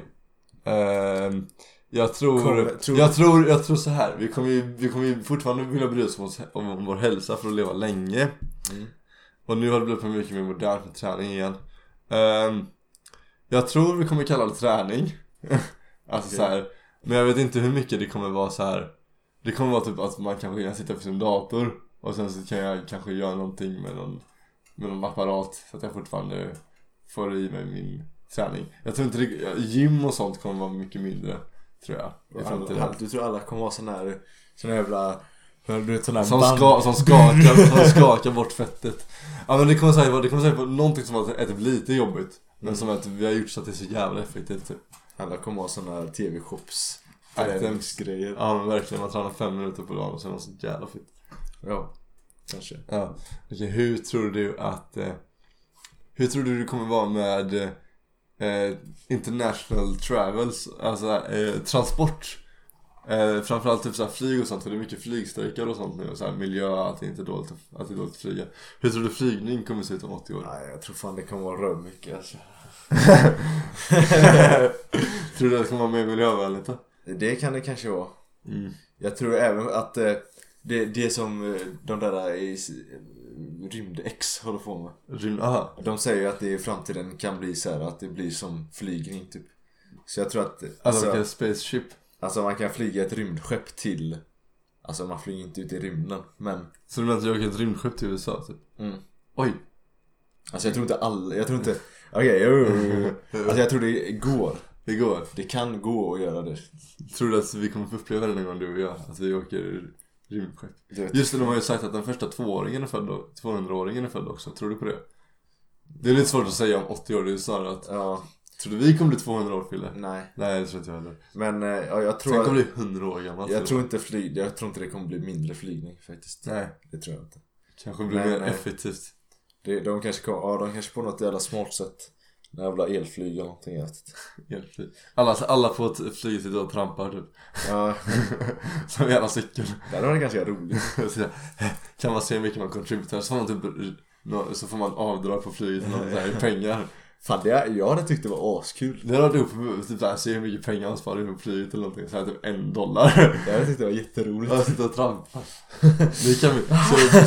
A: Ehm, jag, tror,
B: Kommer- tror-
A: jag tror, jag tror så här. Vi kommer ju, vi kommer ju fortfarande vilja bry oss om, oss, om vår hälsa för att leva länge
B: Mm.
A: Och nu har det blivit mycket mer modernt med träning igen Ehm, Jag tror vi kommer kalla det träning Alltså
B: Okej.
A: så här. Men jag vet inte hur mycket det kommer vara så här. Det kommer vara typ att man kanske kan sitta på sin dator Och sen så kan jag kanske göra någonting med någon, med någon apparat Så att jag fortfarande får i mig min träning. Jag tror inte det, gym och sånt kommer vara mycket mindre tror jag i framtiden.
B: Alla, du tror alla kommer ha sån här Sån här jävla Du vet sån här
A: Som,
B: band
A: ska, som, skakar, som skakar bort fettet. Ja men det kommer säkert vara, det kommer säkert vara någonting som är typ lite jobbigt.
B: Mm.
A: Men som att vi har gjort så att det är så jävla effektivt typ.
B: Alla kommer ha sån här tv-shops
A: Items.
B: Träningsgrejer ja.
A: Ja men verkligen, man tränar fem minuter på dagen och sen är man så jävla fit.
B: kanske
A: Ja. Okej, hur tror du att... Eh, hur tror du det kommer vara med eh, international travels, alltså eh, transport? Eh, framförallt typ såhär flyg och sånt, för det är mycket flygstrejker och sånt nu. Och såhär miljö, att det inte är dåligt att, att, det är dåligt att flyga. Hur tror du flygning kommer se ut om 80 år?
B: Nej, jag tror fan det kommer vara röv mycket alltså.
A: [laughs] tror du att det kommer vara mer miljövänligt då?
B: Det kan det kanske vara.
A: Mm.
B: Jag tror även att eh, det, det som eh, de där i s- Rymd-X håller på med.
A: Rymd, aha. Alltså,
B: De säger ju att det i framtiden kan bli så här att det blir som flygning typ. Så jag tror att
A: Alltså
B: alltså,
A: vilka spaceship.
B: alltså man kan flyga ett rymdskepp till Alltså man flyger inte ut i rymden men
A: Så du menar att jag åker ett rymdskepp till USA typ?
B: Mm.
A: Oj!
B: Alltså jag tror inte alla, jag tror inte Okej, jo, jo, jo. Alltså jag tror det går
A: Igår.
B: Det kan gå att göra det
A: Tror du att vi kommer få uppleva det någon gång du och jag? Att vi åker rymdskepp?
B: Du vet.
A: Just det, de har ju sagt att den första tvååringen är född och 200-åringen är född också. Tror du på det? Det är lite svårt att säga om 80 år. Det är ju snarare att...
B: Ja,
A: Tror du vi kommer bli 200 år Fille?
B: nej
A: Nej, det tror inte jag heller.
B: Men eh, ja, jag tror
A: Tänk om du är 100 år gammal.
B: Jag
A: Fille.
B: tror inte flyg, jag tror inte det kommer bli mindre flygning faktiskt
A: Alltså- Nej.
B: Det tror jag inte
A: Kanske blir
B: Nej,
A: mer
B: nej.
A: effektivt.
B: det, De kanske kommer, ja de kanske på något jävla smart sätt Någon jävla elflyg eller någonting jag vet inte.
A: Hjälpligt. Alla, alla på ett flyg sitter och trampar typ. [laughs]
B: Ja,
A: Som en jävla cykel. [laughs]
B: det hade varit ganska roligt
A: Så jag- kan man se hur mycket man contributerar så får man typ nå- så får man avdrag på flyget något där i pengar.
B: Fan det, jag hade tyckt det var askul
A: Det har du på typ såhär, se hur mycket pengar man sparar på flyget eller någonting. Såhär typ en dollar.
B: Jag hade tyckt det var
A: [laughs]
B: jätteroligt
A: Jag sitter och trampar. [laughs] Det kan vi, så,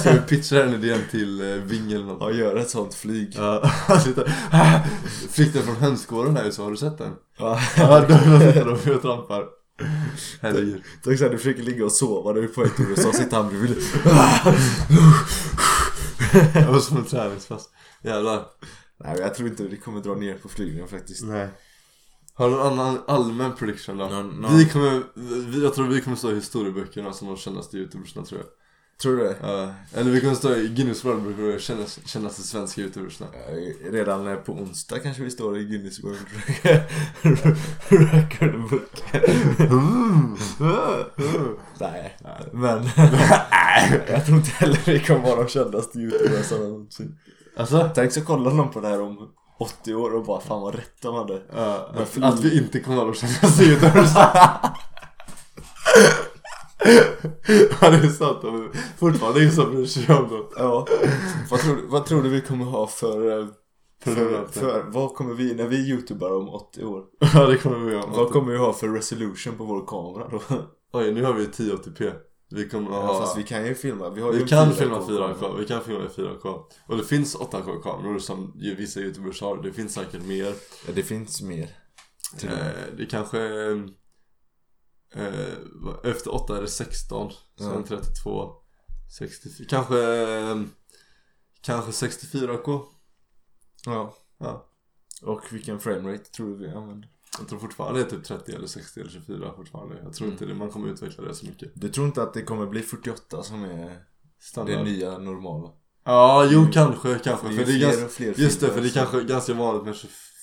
A: så vi pitchar den idén till eh, Ving eller något.
B: Ja, göra ett sånt flyg
A: Ja, [laughs] han sitter, [laughs] flykten från hönsgården här så har du sett den?
B: Ja.
A: [laughs] Ja, då då sitter [laughs] de och trampar. Herregud.
B: Tänk såhär, du försöker ligga och sova, du är på väg till USA, sitter han bredvid dig.
A: Det var som en träningspass. Jävlar.
B: Nej men jag tror inte det kommer dra ner på flygningen faktiskt.
A: Nej. Har du någon annan allmän prediction då?
B: Någon- någon-
A: Vi kommer, vi, jag tror vi kommer stå i historieböckerna som de kändaste youtubersna tror jag.
B: Tror du det?
A: Ja, eller vi kommer stå i Guinness World Record och kännas- kändaste svenska youtubersna.
B: Eh, Redan eh, på onsdag kanske vi står i Guinness World Record- [laughs] Record Book. Nej, [laughs] men jag tror inte heller vi kommer vara de kändaste youtubersarna någonsin.
A: Alltså?
B: Tänk så kollar någon på det här om 80 år och bara fan vad rätt de hade.
A: ja,
B: Men fly-
A: att vi inte kommer vara de kändaste youtubersna. ja det är sant, de är fortfarande ingen som bryr sig om dem.
B: Ja. Vad tror, du- vad tror du vi kommer ha för, eh, för,
A: Prenumeranter.
B: för vad kommer vi, när vi youtubar om 80 år,
A: Ja det kommer vi göra.
B: vad kommer vi ha för resolution på vår kamera då?
A: Oj nu har vi 1080p. Vi kommer att
B: Ja,
A: ha...
B: Fast vi kan ju filma, vi har ju
A: Vi
B: en
A: kan
B: 4K
A: filma 4K,
B: kamera.
A: vi kan filma i 4K. Och det finns 8K-kameror som ju vissa youtubers har. Det finns säkert mer.
B: Ja, det finns mer. Till och med.
A: Eh, det kanske... Eh, vad- efter 8 är det 16, sen
B: Ja.
A: 32, 64, kanske... eh, Kanske 64K?
B: Ja.
A: Ja.
B: Och vilken framerate tror du vi använder?
A: Jag tror fortfarande det är typ 30 eller 60 eller 24 fortfarande. Jag tror inte det, man kommer utveckla det så mycket.
B: Du tror inte att Mm. det kommer bli 48 som är
A: Standard.
B: det nya normala?
A: Ja, jo kanske, kanske.
B: Det är
A: för
B: ju
A: det är
B: fler
A: ganska,
B: och fler
A: just det,
B: filmer
A: för det är
B: som-
A: kanske ganska vanligt med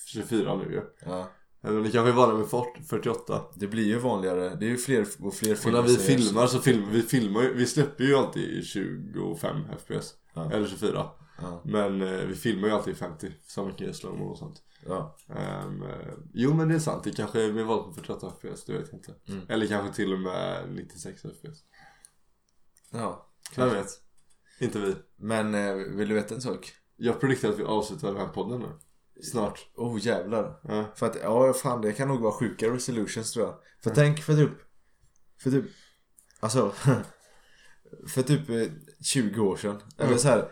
A: 24 nu ju.
B: Ja.
A: Eller det kanske är vanligt med 40 48.
B: Det blir ju vanligare, det är ju fler och fler
A: Och
B: filmer
A: när vi
B: som görs.
A: filmar så filmar vi, filmar, ju- vi släpper ju alltid i 25 FPS.
B: Ja.
A: Eller 24.
B: Ja.
A: Men eh, vi filmar ju alltid i 50. Så mycket slowmo och sånt.
B: Ja.
A: Ehm, eh, jo men det är sant, det kanske är med val på 48 FPS, det vet jag inte.
B: Mm.
A: Eller kanske till och med 96 FPS.
B: ja.
A: Vem vet? Inte vi.
B: Men eh, vill du veta en sak?
A: Jag prediktar att vi avslutar den här podden nu. Snart.
B: Oh jävlar.
A: Ja.
B: För att, ja fan det kan nog vara sjuka resolutions tror jag.
A: Mm.
B: För tänk för typ, för typ, alltså, [laughs] för typ eh, 20 år sedan.
A: Mm.
B: Eller så här,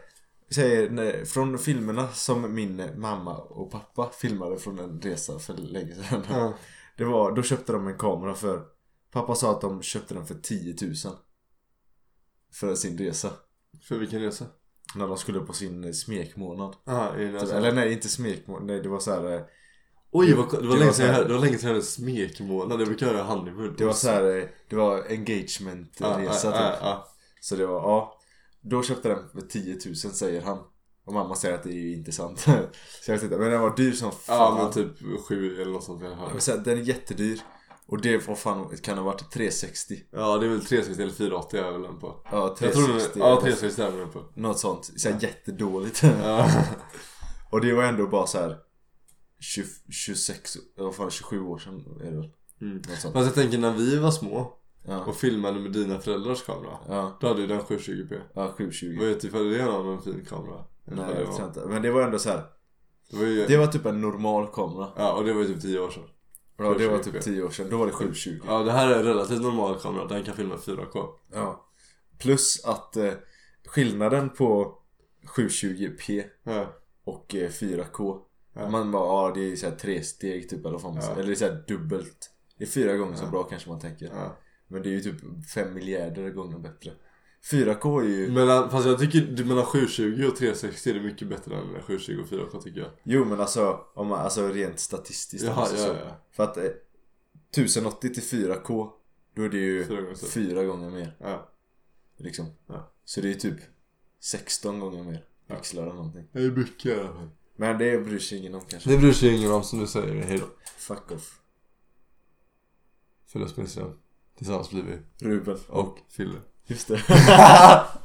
B: säger, nej, från filmerna som min mamma och pappa filmade från en resa för länge sedan.
A: Ja.
B: Det var, då köpte de en kamera för, pappa sa att de köpte den för 10 000. För sin resa.
A: För vilken resa?
B: När de skulle på sin eh, smekmånad.
A: Aha, i
B: Typ,
A: nästa.
B: Eller nej, inte smekmånad, nej det var så här eh,
A: Oj, vad, det, var
B: Det var
A: länge
B: så
A: sedan jag,
B: här-
A: hörde- det var länge sedan jag hörde smekmånad. Det brukar jag göra i honeymoon.
B: Det var så här, eh, det var engagementresa
A: ah, ah,
B: typ.
A: ah.
B: Så det var, ja. Då köpte den för 10 000 säger han. Och mamma säger att det är ju inte sant. [laughs] så jag vet inte, men den var dyr som
A: Ja
B: fan.
A: men typ 7 eller något sånt i alla fall.
B: men så här, den är jättedyr. Och det var fan, kan ha varit 360.
A: Ja det är väl 360 eller 480 jag är väl den på.
B: Ja,
A: Jag tror
B: 360.
A: den, ja
B: eller
A: 360 är väl den på.
B: Något sånt. Så här, jättedåligt.
A: Ja.
B: och det var ändå bara så här 20, 26, vad fan 27 år sedan är det väl?
A: Mm.
B: Något sånt.
A: Fast jag tänker när vi var små
B: Ja.
A: och filmade med dina föräldrars kamera.
B: Ja,
A: Då hade ju den 720p.
B: ja 720.
A: Vad heter ifall det är någon med en fin kamera?
B: Nej,
A: det
B: jag
A: var,
B: vet inte. Men det var ändå så här.
A: det var ju,
B: Det var typ en normal kamera.
A: Ja, och det var ju typ 10 år sedan.
B: Ja, det var
A: 720p.
B: typ 10 år sedan. Då var det 720.
A: Ja, det här är en relativt normal kamera. Den kan filma 4K.
B: Ja. Plus att eh, skillnaden på 720p
A: Ja,
B: och eh, 4k.
A: Ja.
B: Man bara, ja det är så här tre steg typ eller vad man
A: Ja.
B: säger. Eller det är så här dubbelt. Det är fyra gånger så bra kanske man tänker.
A: ja.
B: Men det är ju typ fem miljarder gånger bättre. 4k är ju...
A: Men, äh, fast jag tycker du mellan 720 och 360 är det mycket bättre än 720 och 4K tycker jag.
B: Jo men alltså, om man, alltså rent statistiskt.
A: Jaha,
B: alltså,
A: ja,
B: så.
A: ja.
B: För att eh, 1080 till 4k, då är det ju
A: Fyra gånger så.
B: fyra gånger mer.
A: Ja.
B: Liksom.
A: Ja.
B: Så det är ju typ 16 gånger mer pixlar eller någonting.
A: Det är mycket i alla fall.
B: Men det bryr sig ingen om kanske.
A: Det bryr sig ingen om som du säger. Hej då.
B: Fuck off.
A: Förlåt Spencer. Tillsammans blir vi.
B: Ruben.
A: [laughs] Och Fille.
B: Just det.